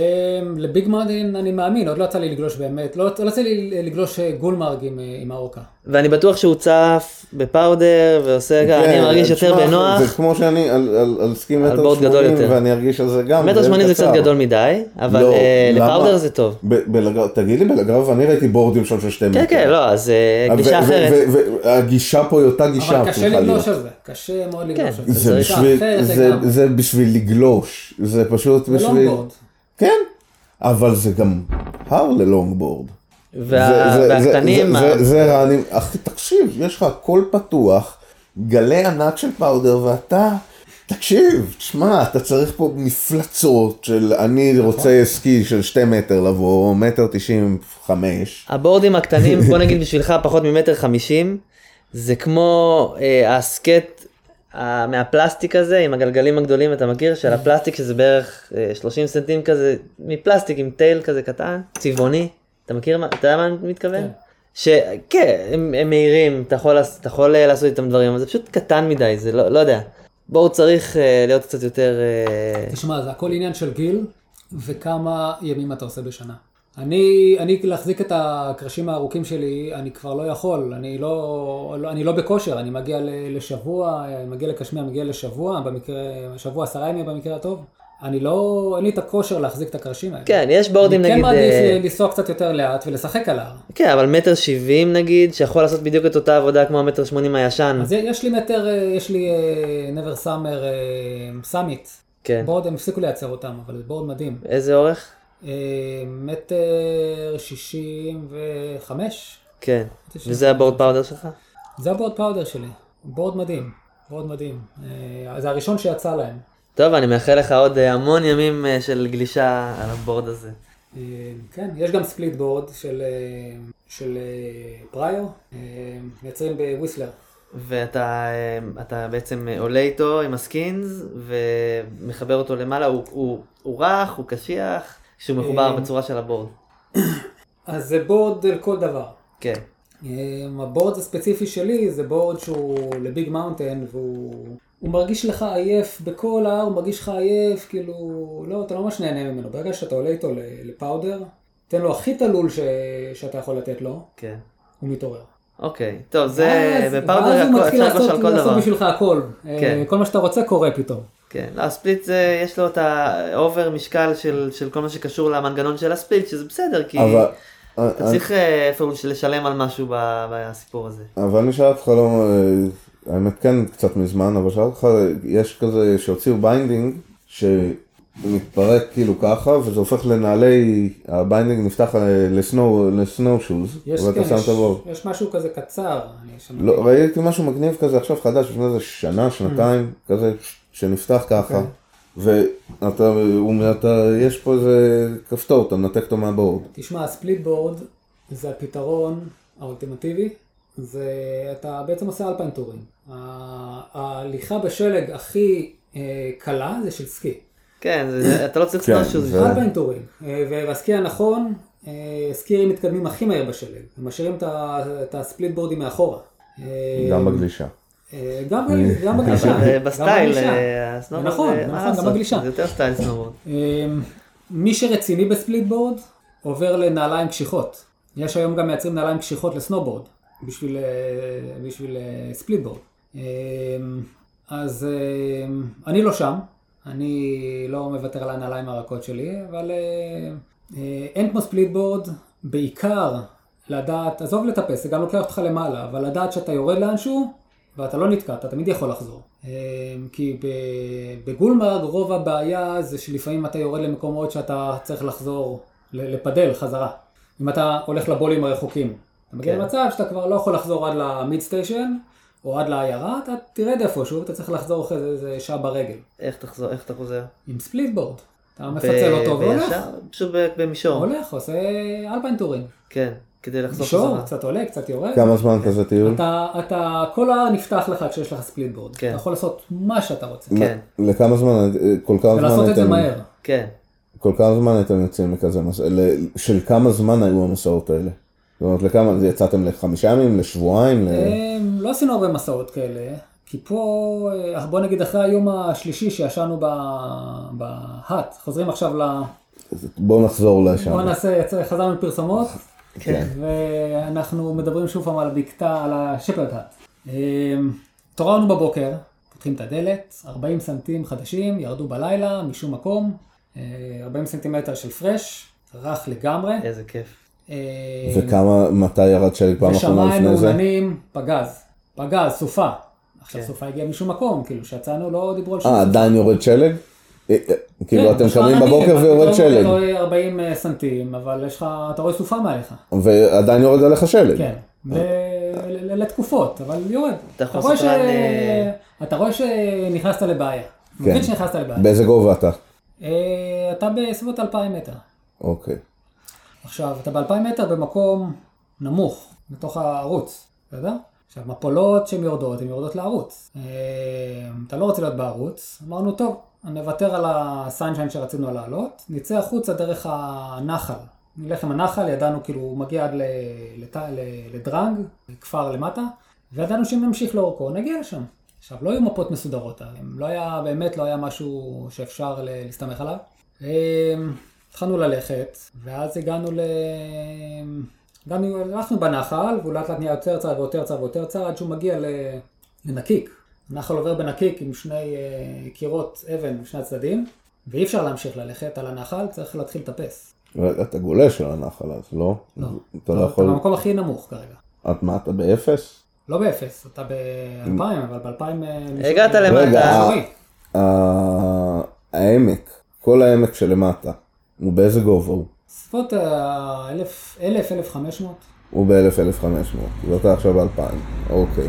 Speaker 3: לביג מאונטין אני מאמין, עוד לא יצא לי לגלוש באמת, לא לא יצא לי לגלוש אה, גולמרג עם, אה, עם האורקה.
Speaker 2: ואני בטוח שהוא צף בפאודר ועושה, גם, אני
Speaker 1: כן,
Speaker 2: מרגיש יותר
Speaker 1: תשמע,
Speaker 2: בנוח.
Speaker 1: זה כמו שאני על- על על סקי מטר
Speaker 2: בורד גדול
Speaker 1: שמונים,
Speaker 2: יותר.
Speaker 1: ואני ארגיש על זה גם.
Speaker 2: מטר שמונים זה
Speaker 1: קצר.
Speaker 2: קצת גדול מדי, אבל
Speaker 1: לא,
Speaker 2: אה,
Speaker 1: למה?
Speaker 2: לפאודר זה טוב.
Speaker 1: ב- בלגר- תגיד לי, בלגרב אני ראיתי בורדים שם של שתי מטר.
Speaker 2: כן, כן, לא, אז אה,
Speaker 1: אוקיי. ו-
Speaker 2: גישה
Speaker 1: ו-
Speaker 2: אחרת.
Speaker 1: ו- ו- והגישה פה היא אותה גישה.
Speaker 3: אבל קשה
Speaker 1: צריכה להיות.
Speaker 3: לגלוש על זה, קשה מאוד לגלוש על זה.
Speaker 1: זה
Speaker 2: צריך
Speaker 1: בשביל,
Speaker 3: אחרת
Speaker 1: זה,
Speaker 3: לגמרי.
Speaker 1: זה בשביל לגלוש, זה פשוט
Speaker 3: זה
Speaker 1: בשביל...
Speaker 3: לונגבורד.
Speaker 1: כן, אבל זה גם הר ללונגבורד.
Speaker 2: וה-
Speaker 1: זה- זה-
Speaker 2: והקטנים,
Speaker 1: זה-
Speaker 2: ה-
Speaker 1: זה- זה רענים, אחי תקשיב, יש לך הכל פתוח, גלי ענק של פאודר ואתה, תקשיב, תשמע, אתה צריך פה מפלצות של אני
Speaker 3: נכון.
Speaker 1: רוצה סקי של שתי מטר לבוא, או מטר תשעים וחמש.
Speaker 2: הבורדים הקטנים, בוא נגיד בשבילך פחות ממטר חמישים, זה כמו אה, הסקט אה, מהפלסטיק הזה, עם הגלגלים הגדולים, אתה מכיר? של הפלסטיק שזה בערך אה, 30 סנטים
Speaker 3: כן.
Speaker 2: כזה, מפלסטיק עם טייל כזה קטן, צבעוני. אתה מכיר מה, אתה יודע מה אני מתכוון? שכן, הם, הם מהירים, אתה יכול, לעש- אתה יכול אה, לעשות איתם דברים, אבל זה פשוט קטן מדי, זה לא, לא יודע. בואו צריך אה, להיות קצת יותר... אה,
Speaker 3: תשמע, זה הכל עניין של גיל, וכמה ימים אתה עושה בשנה. אני, אני להחזיק את הקרשים הארוכים שלי, אני כבר לא יכול, אני לא, לא, אני לא בכושר, אני מגיע ל- לשבוע, אני מגיע לקשמיה, מגיע לשבוע, במקרה, שבוע עשרה ימים במקרה הטוב. אני לא, אין לי את הכושר להחזיק את הקרשים האלה.
Speaker 2: כן, יש בורדים
Speaker 3: אני כן
Speaker 2: נגיד...
Speaker 3: מעדיף
Speaker 2: אה,
Speaker 3: ל- לנסוע קצת יותר לאט ולשחק על ההר.
Speaker 2: כן, אבל מטר שבעים נגיד, שיכול לעשות בדיוק את אותה עבודה כמו המטר שמונים הישן.
Speaker 3: אז יש לי מטר, אה, יש לי אה, never summer אה, סאמיט.
Speaker 2: כן.
Speaker 3: בורד, הם הפסיקו לייצר אותם, אבל זה בורד מדהים.
Speaker 2: איזה אורך?
Speaker 3: אה, מטר שישים וחמש.
Speaker 2: כן.
Speaker 3: תשעים.
Speaker 2: וזה הבורד פאודר שלך?
Speaker 3: זה הבורד פאודר שלי. בורד מדהים. בורד מדהים. אה, זה הראשון שיצא להם.
Speaker 2: טוב, אני מאחל לך עוד אה, המון ימים אה, של גלישה על הבורד הזה.
Speaker 3: אה, כן, יש גם ספליט בורד של, אה, של אה, פריור. אה, מייצרים בוויסלר.
Speaker 2: ואתה אה, אתה בעצם אה, עולה איתו עם הסקינס ומחבר אותו למעלה, הוא, הוא, הוא רך, הוא קשיח, שהוא מחובר
Speaker 3: אה.
Speaker 2: בצורה של הבורד.
Speaker 3: אז זה בורד על כל דבר.
Speaker 2: כן.
Speaker 3: אמ, הבורד הספציפי שלי זה בורד שהוא לביג מאונטן והוא הוא מרגיש לך עייף בכל ההר, הוא מרגיש לך עייף, כאילו, לא, אתה לא ממש נהנה ממנו. ברגע שאתה עולה איתו ל- לפאודר, תן לו הכי תלול ש... שאתה יכול לתת לו,
Speaker 2: כן.
Speaker 3: הוא מתעורר.
Speaker 2: אוקיי. טוב, זה
Speaker 3: ואז-
Speaker 2: בפאודר
Speaker 3: ואז הוא
Speaker 2: הכל-
Speaker 3: מתחיל
Speaker 2: אפשר לגלוש
Speaker 3: לעשות,
Speaker 2: על כל
Speaker 3: לעשות
Speaker 2: דבר.
Speaker 3: בשבילך הכל. אה,
Speaker 2: כן.
Speaker 3: כל מה שאתה רוצה קורה פתאום.
Speaker 2: כן, לא, הספליט זה, יש לו את האובר משקל של, של כל מה שקשור למנגנון של הספליט, שזה בסדר, כי
Speaker 1: אבל...
Speaker 2: אתה צריך אה, איפה לשלם על משהו ב- בסיפור הזה.
Speaker 1: אבל אני שאלתי אותך לא, אה, האמת כן קצת מזמן, אבל שאלתי אותך, יש כזה שהוציאו ביינדינג שמתפרק כאילו ככה, וזה הופך לנעלי, הביינדינג נפתח אה, לסנו, לסנו שוז,
Speaker 3: יש,
Speaker 1: ואתה
Speaker 3: כן,
Speaker 1: שם את
Speaker 3: יש,
Speaker 1: הבור.
Speaker 3: יש משהו כזה קצר. אני שם...
Speaker 1: לא, ראיתי משהו מגניב כזה עכשיו חדש, לפני איזה שנה, שנתיים,
Speaker 3: Mm.
Speaker 1: כזה, ש- שנפתח ככה,
Speaker 3: אוקיי.
Speaker 1: ואתה, הוא- אתה- יש פה איזה כפתור, אתה מנתק אותו מהבורד.
Speaker 3: תשמע, הספליט בורד זה הפתרון האולטימטיבי, זה אתה בעצם עושה אלפיים טורים. ה- ההליכה בשלג הכי אה, קלה זה של סקי.
Speaker 2: כן, זה, אתה לא צריך
Speaker 1: כן,
Speaker 2: לעשות שוב.
Speaker 1: זה-
Speaker 3: אלפיים טורים. אה, והסקי הנכון, אה, סקירים מתקדמים הכי מהר בשלג. הם משאירים את ה- את הספליט בורדים מאחורה. אה,
Speaker 1: גם בגלישה.
Speaker 3: אה, גם בגלישה. גם בגלישה.
Speaker 2: אבל, אה,
Speaker 3: גם
Speaker 2: בסטייל,
Speaker 3: בגלישה.
Speaker 2: אה, הסנובורד, אה,
Speaker 3: נכון,
Speaker 2: מה
Speaker 3: נכון, גם
Speaker 2: לעשות,
Speaker 3: בגלישה.
Speaker 2: זה יותר סטייל סנובורד.
Speaker 3: אמ, מי שרציני בספליט בורד עובר לנעליים קשיחות. יש היום גם מייצרים נעליים קשיחות לסנובורד בשביל, אה, בשביל אה, ספליט בורד. אמ, אז אמ, אני לא שם, אני לא מוותר על הנעליים הרכות שלי, אבל אה, אה, אין כמו ספליט בורד, בעיקר לדעת, עזוב לטפס, זה גם לוקח אותך למעלה, אבל לדעת שאתה יורד לאנשהו, ואתה לא נתקע, אתה תמיד יכול לחזור. אמ, כי ב- בגולמרג רוב הבעיה זה שלפעמים אתה יורד למקומות שאתה צריך לחזור, ל- לפדל חזרה. אם אתה הולך לבולים הרחוקים. אתה מגיע
Speaker 2: כן.
Speaker 3: למצב שאתה כבר לא יכול לחזור עד למיד סטיישן, או עד לעיירה, אתה תרד איפשהו, אתה צריך לחזור אחרי זה איזה שעה ברגל.
Speaker 2: איך תחזור, איך אתה חוזר?
Speaker 3: עם ספליט בורד. אתה
Speaker 2: ב-
Speaker 3: מפצל אותו והולך,
Speaker 2: בישר? פשוט ב- במישור,
Speaker 3: הולך, עושה אלפיים טורים.
Speaker 2: כן, כדי לחזור
Speaker 3: שור,
Speaker 2: חזרה.
Speaker 3: קצת עולה, קצת יורד.
Speaker 1: כמה זמן כזה טיול?
Speaker 3: אה, אתה, אתה, כל ההר נפתח לך כשיש לך ספליט בורד.
Speaker 2: כן.
Speaker 3: אתה יכול לעשות מה שאתה רוצה.
Speaker 2: כן.
Speaker 1: לכמה זמן, אה, כל כמה זמן
Speaker 3: ולעשות את זה
Speaker 1: אתם-
Speaker 3: מהר.
Speaker 2: כן.
Speaker 1: כל כמה זמן הייתם יוצאים לכזה מסע, ל- של כמה זמן היו המסעות האלה? זאת אומרת, לכמה, יצאתם לחמישה ימים, לשבועיים, ל...
Speaker 3: אמ, לא עשינו הרבה מסעות כאלה, כי פה, אה, בוא נגיד אחרי היום השלישי שישנו ב- בהאט, חוזרים עכשיו ל...
Speaker 1: בואו נחזור לשם.
Speaker 3: בוא נעשה, יצא, חזרנו מפרסומות,
Speaker 1: כן.
Speaker 3: ואנחנו מדברים שוב פעם על הבקתה, על השפרד האט. אמ, התעוררנו בבוקר, פותחים את הדלת, 40 סנטים חדשים, ירדו בלילה, משום מקום, אה, 40 סנטימטר של פרש, רך לגמרי.
Speaker 2: איזה כיף.
Speaker 3: אה,
Speaker 1: וכמה, מתי ירד שלי פעם אחרונה
Speaker 3: ושמיים
Speaker 1: לפני זה?
Speaker 3: מעוננים, פגז. פגז, סופה. עכשיו
Speaker 2: כן.
Speaker 3: סופה הגיעה משום מקום, כאילו, כשיצאנו לא דיברו על שום
Speaker 1: אה,
Speaker 3: סופה.
Speaker 1: עדיין יורד שלג? אה, אה, כאילו,
Speaker 3: כן,
Speaker 1: אתם
Speaker 3: יש לך
Speaker 1: קמים
Speaker 3: עננים,
Speaker 1: בבוקר
Speaker 3: אתה
Speaker 1: ויורד
Speaker 3: פתאום
Speaker 1: שלג,
Speaker 3: אתה רואה 40 סנטים, אבל יש לך, אתה רואה סופה מעליך.
Speaker 1: ועדיין יורד עליך שלג.
Speaker 3: כן. ל- ל- ל- לתקופות, אבל יורד.
Speaker 2: אתה יכול אה,
Speaker 3: רואה
Speaker 2: לעשות רן,
Speaker 3: ש- אתה רואה שנכנסת לבעיה.
Speaker 1: כן.
Speaker 3: מבין שנכנסת לבעיה.
Speaker 1: באיזה גובה אתה?
Speaker 3: אה, אתה בסביבות 2,000 מטר.
Speaker 1: אוקיי.
Speaker 3: עכשיו, אתה ב-2,000 מטר במקום נמוך, בתוך הערוץ, בסדר? עכשיו, מפולות שהן יורדות, הן יורדות לערוץ. אה, אתה לא רוצה להיות בערוץ, אמרנו, טוב, נוותר על הסיינשיין שרצינו לעלות, נצא החוצה דרך הנחל, נלך עם הנחל, ידענו כאילו הוא מגיע עד ל- לת- ל- לדרנג, כפר למטה, וידענו שאם נמשיך לאורכו נגיע לשם. עכשיו, לא היו מפות מסודרות, הם לא היה, באמת לא היה משהו שאפשר ל- להסתמך עליו. אמ, התחלנו ללכת, ואז הגענו ל... הגענו, הלכנו בנחל, והוא לאט לאט נהיה יותר צר ויותר צר ויותר צר, עד שהוא מגיע ל... לנקיק. הנחל עובר בנקיק עם שני אה, קירות אבן בשני הצדדים, ואי אפשר להמשיך ללכת על הנחל, צריך להתחיל לטפס.
Speaker 1: אתה גולש על הנחל אז, לא?
Speaker 3: לא.
Speaker 1: אתה לא יכול...
Speaker 3: אתה לא- במקום הכי נמוך כרגע.
Speaker 1: את מה, אתה באפס?
Speaker 3: לא באפס, אתה ב-2000, אבל אה, ב-2000...
Speaker 2: הגעת למטה.
Speaker 1: רגע. אה, ה- העמק, כל העמק שלמטה, הוא באיזה גובה הוא?
Speaker 3: בסביבות אה, ה-1000-1500,
Speaker 1: הוא ב-1000-1500, ואתה עכשיו ב-2000, אוקיי.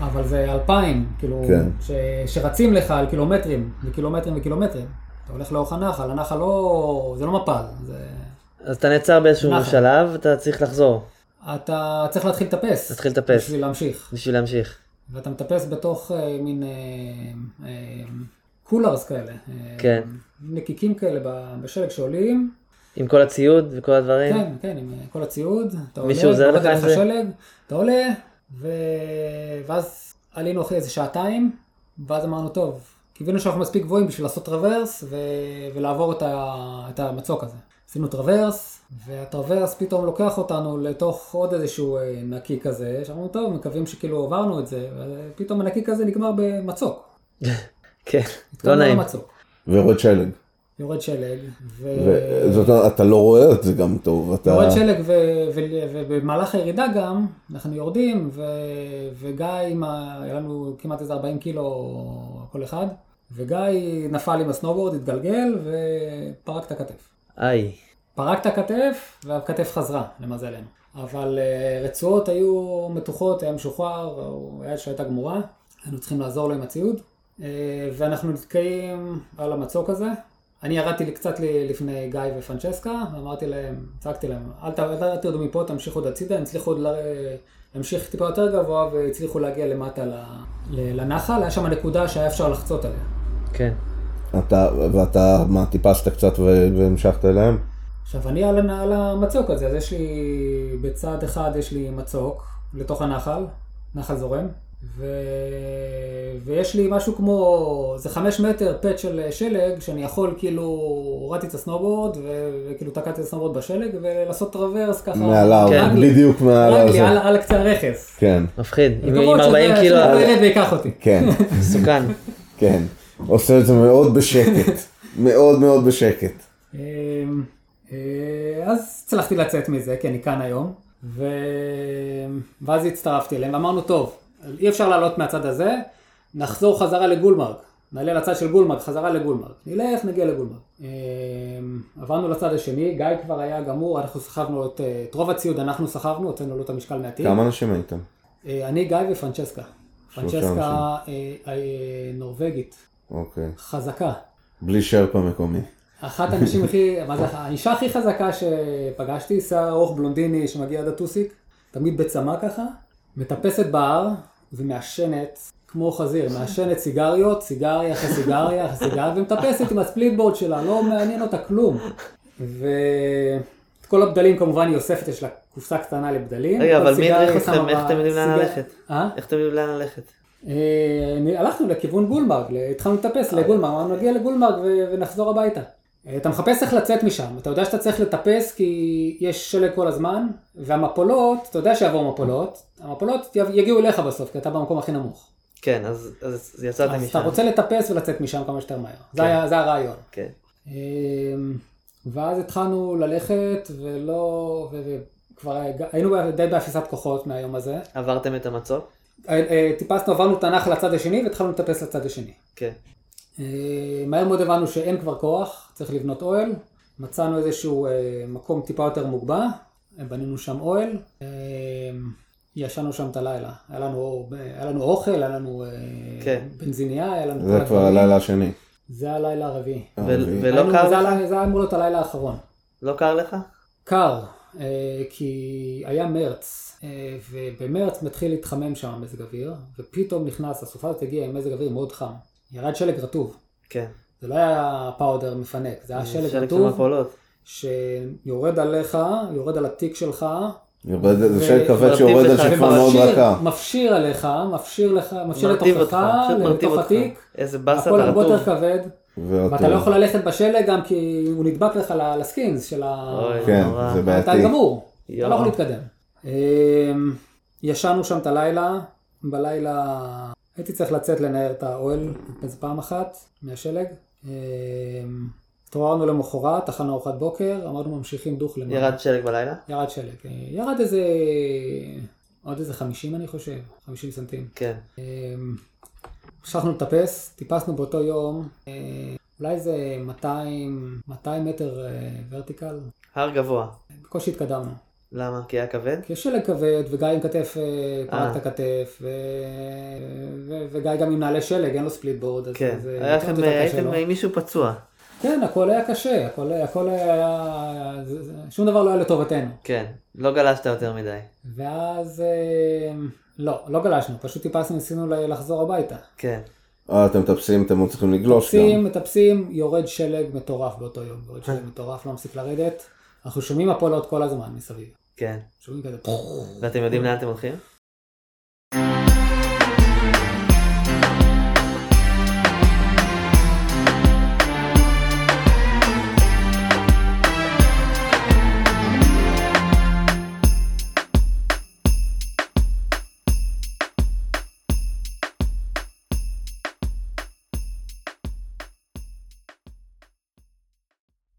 Speaker 3: אבל זה 2,000, כאילו,
Speaker 1: כן.
Speaker 3: ש- שרצים לך על קילומטרים, וקילומטרים וקילומטרים. אתה הולך לאורך הנחל, הנחל לא... זה לא מפל, זה...
Speaker 2: אז אתה נעצר באיזשהו
Speaker 3: נכון.
Speaker 2: שלב, אתה צריך לחזור
Speaker 3: אתה צריך להתחיל לטפס.
Speaker 2: להתחיל לטפס.
Speaker 3: בשביל להמשיך.
Speaker 2: בשביל להמשיך.
Speaker 3: ואתה מטפס בתוך אה, מין אה, אה, קולרס כאלה. אה,
Speaker 2: כן.
Speaker 3: נקיקים כאלה ב- בשלג שעולים,
Speaker 2: עם כל הציוד וכל הדברים.
Speaker 3: כן, כן, עם אה, כל הציוד, אתה עולה, לא
Speaker 2: מישהו עוזר
Speaker 3: יורד
Speaker 2: לך עם
Speaker 3: עליך
Speaker 2: זה?
Speaker 3: שלג, אתה עולה, ו... ואז עלינו אחרי איזה שעתיים, ואז אמרנו, טוב, קיווינו שאנחנו מספיק גבוהים בשביל לעשות טרוורס ו... ולעבור את, ה... את המצוק הזה. עשינו טרוורס, והטרוורס פתאום לוקח אותנו לתוך עוד איזשהו אה, נקי כזה, שאמרנו, טוב, מקווים שכאילו עברנו את זה, ופתאום הנקי כזה נגמר במצוק.
Speaker 2: כן, לא
Speaker 3: התקדמנו
Speaker 2: נעים.
Speaker 3: למצוק.
Speaker 1: ויורד שלג.
Speaker 3: יורד שלג, ו...
Speaker 1: וזאת אומרת, אתה לא רואה את זה גם טוב, אתה...
Speaker 3: יורד שלג, ו- ו- ובמהלך הירידה גם, אנחנו יורדים, ו- וגיא, עם ה- היה לנו כמעט איזה 40 קילו כל אחד, וגיא נפל עם הסנובורד, התגלגל, ופרק את הכתף.
Speaker 2: איי.
Speaker 3: פרק את הכתף, והכתף חזרה, למזלנו. אבל אה, רצועות היו מתוחות, היה משוחרר, הוא- היד שלו הייתה גמורה, היינו צריכים לעזור לו עם הציוד, אה, ואנחנו נתקעים על המצוק הזה. אני ירדתי לי קצת ל- לפני גיא ופרנצ'סקה, ואמרתי להם, צעקתי להם, אל, ת, אל תרדו מפה, תמשיכו עוד הצידה, הם הצליחו עוד ל- אה, להמשיך טיפה יותר גבוה, והצליחו להגיע למטה ל, ל, לנחל, היה שם נקודה שהיה אפשר לחצות עליה.
Speaker 2: כן.
Speaker 1: אתה... ואתה, מה, טיפסת קצת ו- והמשכת אליהם?
Speaker 3: עכשיו, אני על, הנ- על המצוק הזה, אז יש לי, בצד אחד יש לי מצוק, לתוך הנחל, נחל זורם, ו... ויש לי משהו כמו, זה חמש מטר פט של שלג, שאני יכול כאילו, הורדתי את הסנובורד, ו... וכאילו תקעתי את הסנובורד בשלג, ולעשות טרוורס ככה.
Speaker 1: מעליו,
Speaker 2: כן.
Speaker 1: בדיוק מעל
Speaker 3: רגלי, על,
Speaker 1: הזה.
Speaker 3: על קצה הרכס.
Speaker 1: כן,
Speaker 2: מפחיד. עם
Speaker 3: מקומות
Speaker 2: עם
Speaker 3: שזה-
Speaker 2: 40 קילו,
Speaker 3: שזה לא ירד ויקח אותי.
Speaker 1: כן,
Speaker 2: מסוכן.
Speaker 1: כן. עושה את זה מאוד בשקט. מאוד מאוד בשקט.
Speaker 3: אמ, אה, אז הצלחתי לצאת מזה, כי אני כאן היום, ו... ואז הצטרפתי אליהם, ואמרנו, טוב, אי אפשר לעלות מהצד הזה, נחזור חזרה לגולמרק, נעלה לצד של גולמרק, חזרה לגולמרק, נלך, נגיע לגולמרק. אמ, עברנו לצד השני, גיא כבר היה גמור, אנחנו סחבנו את, אה, את רוב הציוד, אנחנו סחבנו, הוצאנו לו את המשקל מהתיק.
Speaker 1: כמה אנשים הייתם?
Speaker 3: אה, אני, גיא ופרנצ'סקה.
Speaker 1: אנשים.
Speaker 3: פרנצ'סקה אה, אה, נורבגית,
Speaker 1: אוקיי.
Speaker 3: חזקה.
Speaker 1: בלי שרפה מקומי.
Speaker 3: אחת הנשים הכי, מה זה, האישה הכי חזקה שפגשתי, שיער ארוך בלונדיני שמגיע עד הטוסיק, תמיד בצמא ככה, מטפסת בהר ומעשנת, כמו חזיר, מעשנת סיגריות, סיגריה אחרי סיגריה אחרי סיגריה, ומטפסת עם הספליטבורד שלה, לא מעניין אותה כלום. ואת כל הבדלים כמובן היא אוספת, יש לה קופסה קטנה לבדלים.
Speaker 2: רגע,
Speaker 3: כל
Speaker 2: אבל מי
Speaker 3: סיגריה
Speaker 2: הדריך
Speaker 3: היא
Speaker 2: אתכם?
Speaker 3: שמה
Speaker 2: איך אתם יודעים לאן
Speaker 3: בסיגר-
Speaker 2: ללכת?
Speaker 3: אה?
Speaker 2: איך אתם יודעים לאן ללכת?
Speaker 3: אה, אני- הלכנו לכיוון גולמרג, ל- התחלנו לטפס לגולמרג, אמרנו נגיע לגולמרג ו- ונחזור הביתה. אה, אתה מחפש איך לצאת משם, אתה יודע שאתה צריך לטפס כי יש שלג כל הזמן, והמפולות, אתה יודע שיבואו מפולות, המפולות יב- יגיעו אליך בסוף, כי אתה במקום הכי נמוך.
Speaker 2: כן, אז אז יצאתם
Speaker 3: אז
Speaker 2: משם.
Speaker 3: אתה רוצה לטפס ולצאת משם כמה שיותר מהר, זה היה- זה הרעיון.
Speaker 2: כן.
Speaker 3: אמ, ואז התחלנו ללכת, ולא... ו- וכבר היה- היינו די באפיסת כוחות מהיום הזה.
Speaker 2: עברתם את המצוק?
Speaker 3: אה, אה, טיפסנו, עברנו את הנחל לצד השני, והתחלנו לטפס לצד השני.
Speaker 2: כן.
Speaker 3: אה, מהר מאוד הבנו שאין כבר כוח, צריך לבנות אוהל. מצאנו איזשהו אה, מקום טיפה יותר מוגבע, אה, בנינו שם אוהל. אה, ישנו שם את הלילה. היה לנו, היה לנו אוכל, היה לנו אה,
Speaker 2: כן.
Speaker 3: בנזינייה, היה לנו...
Speaker 1: זה
Speaker 3: כל
Speaker 1: כבר
Speaker 3: הדברים.
Speaker 1: הלילה השני.
Speaker 3: זה הלילה הרביעי.
Speaker 2: ו-
Speaker 1: הרביעי.
Speaker 2: ולא
Speaker 3: היינו-
Speaker 2: לא קר
Speaker 3: זה
Speaker 2: לך?
Speaker 3: היה- זה היה אמור להיות הלילה האחרון.
Speaker 2: לא קר לך?
Speaker 3: קר, אה, כי היה מרץ, אה, ובמרץ מתחיל להתחמם שם המזג אוויר, ופתאום נכנס, הסופה הזאת הגיעה עם מזג אוויר מאוד חם. ירד שלג רטוב.
Speaker 2: כן.
Speaker 3: זה לא היה פאודר מפנק, זה היה שלג
Speaker 2: שלג של
Speaker 3: רטוב,
Speaker 2: מפולות.
Speaker 3: שיורד עליך, יורד על התיק שלך,
Speaker 1: יורד-
Speaker 3: ו-
Speaker 1: זה שד כבד
Speaker 2: מרטיב
Speaker 1: שיורד על
Speaker 2: לך,
Speaker 1: שכבה
Speaker 2: ומרשים-
Speaker 1: מאוד רכה.
Speaker 3: מפשיר עליך, מפשיר לך, מפשיר
Speaker 2: מרטיב אותך,
Speaker 3: לתוכך,
Speaker 2: פשוט מרטיב
Speaker 3: לתוך
Speaker 2: אותך.
Speaker 3: התיק,
Speaker 2: איזה באסה
Speaker 3: הכל
Speaker 2: אתה
Speaker 3: הרבה
Speaker 2: רטוב.
Speaker 3: יותר כבד,
Speaker 1: אוקיי.
Speaker 3: ואתה לא יכול ללכת בשלג גם כי הוא נדבק לך ל- לסקינס של ה...
Speaker 2: אוי,
Speaker 1: כן,
Speaker 2: נורא.
Speaker 1: זה
Speaker 3: אתה
Speaker 1: בעייתי.
Speaker 3: גמור, אתה לא
Speaker 2: יואו.
Speaker 3: יכול להתקדם. אמ, ישנו שם את הלילה, בלילה הייתי צריך לצאת לנער את האוהל איזה פעם אחת מהשלג. אמ, התעוררנו למחרת, אכלנו ארוחת בוקר, אמרנו ממשיכים דוך למעלה.
Speaker 2: ירד שלג בלילה?
Speaker 3: ירד שלג. אה, ירד איזה... עוד איזה 50 אני חושב, 50 סנטים.
Speaker 2: כן.
Speaker 3: המשכנו לטפס, טיפסנו באותו יום, אה, אולי איזה 200, 200 מטר אה, ורטיקל,
Speaker 2: הר גבוה.
Speaker 3: בקושי התקדמנו.
Speaker 2: למה? כי היה כבד?
Speaker 3: כי יש שלג כבד, וגיא עם כתף, אה, פרק
Speaker 2: אה.
Speaker 3: את הכתף, ו... ו... וגיא גם עם נעלי שלג, אין לו ספליט בורד, אז
Speaker 2: כן.
Speaker 3: זה
Speaker 2: היה
Speaker 3: יותר-
Speaker 2: לכם,
Speaker 3: זה יותר קשה לא?
Speaker 2: הייתם אה,
Speaker 3: לו.
Speaker 2: עם מישהו פצוע.
Speaker 3: כן, הכל היה קשה, הכל, הכל היה... זה- זה- שום דבר לא היה לטובתנו.
Speaker 2: כן. לא גלשת יותר מדי.
Speaker 3: ואז... אה, לא, לא גלשנו, פשוט טיפסנו, ניסינו ל- לחזור הביתה.
Speaker 2: כן.
Speaker 1: אה, אתם מטפסים, אתם לא צריכים לגלוש גם.
Speaker 3: מטפסים, מטפסים, יורד שלג מטורף באותו יום, יורד שלג מטורף, לא מפסיק לרדת. אנחנו שומעים הפולות כל הזמן מסביב.
Speaker 2: כן.
Speaker 3: שומעים כזה...
Speaker 2: ואתם יודעים לאן אתם הולכים?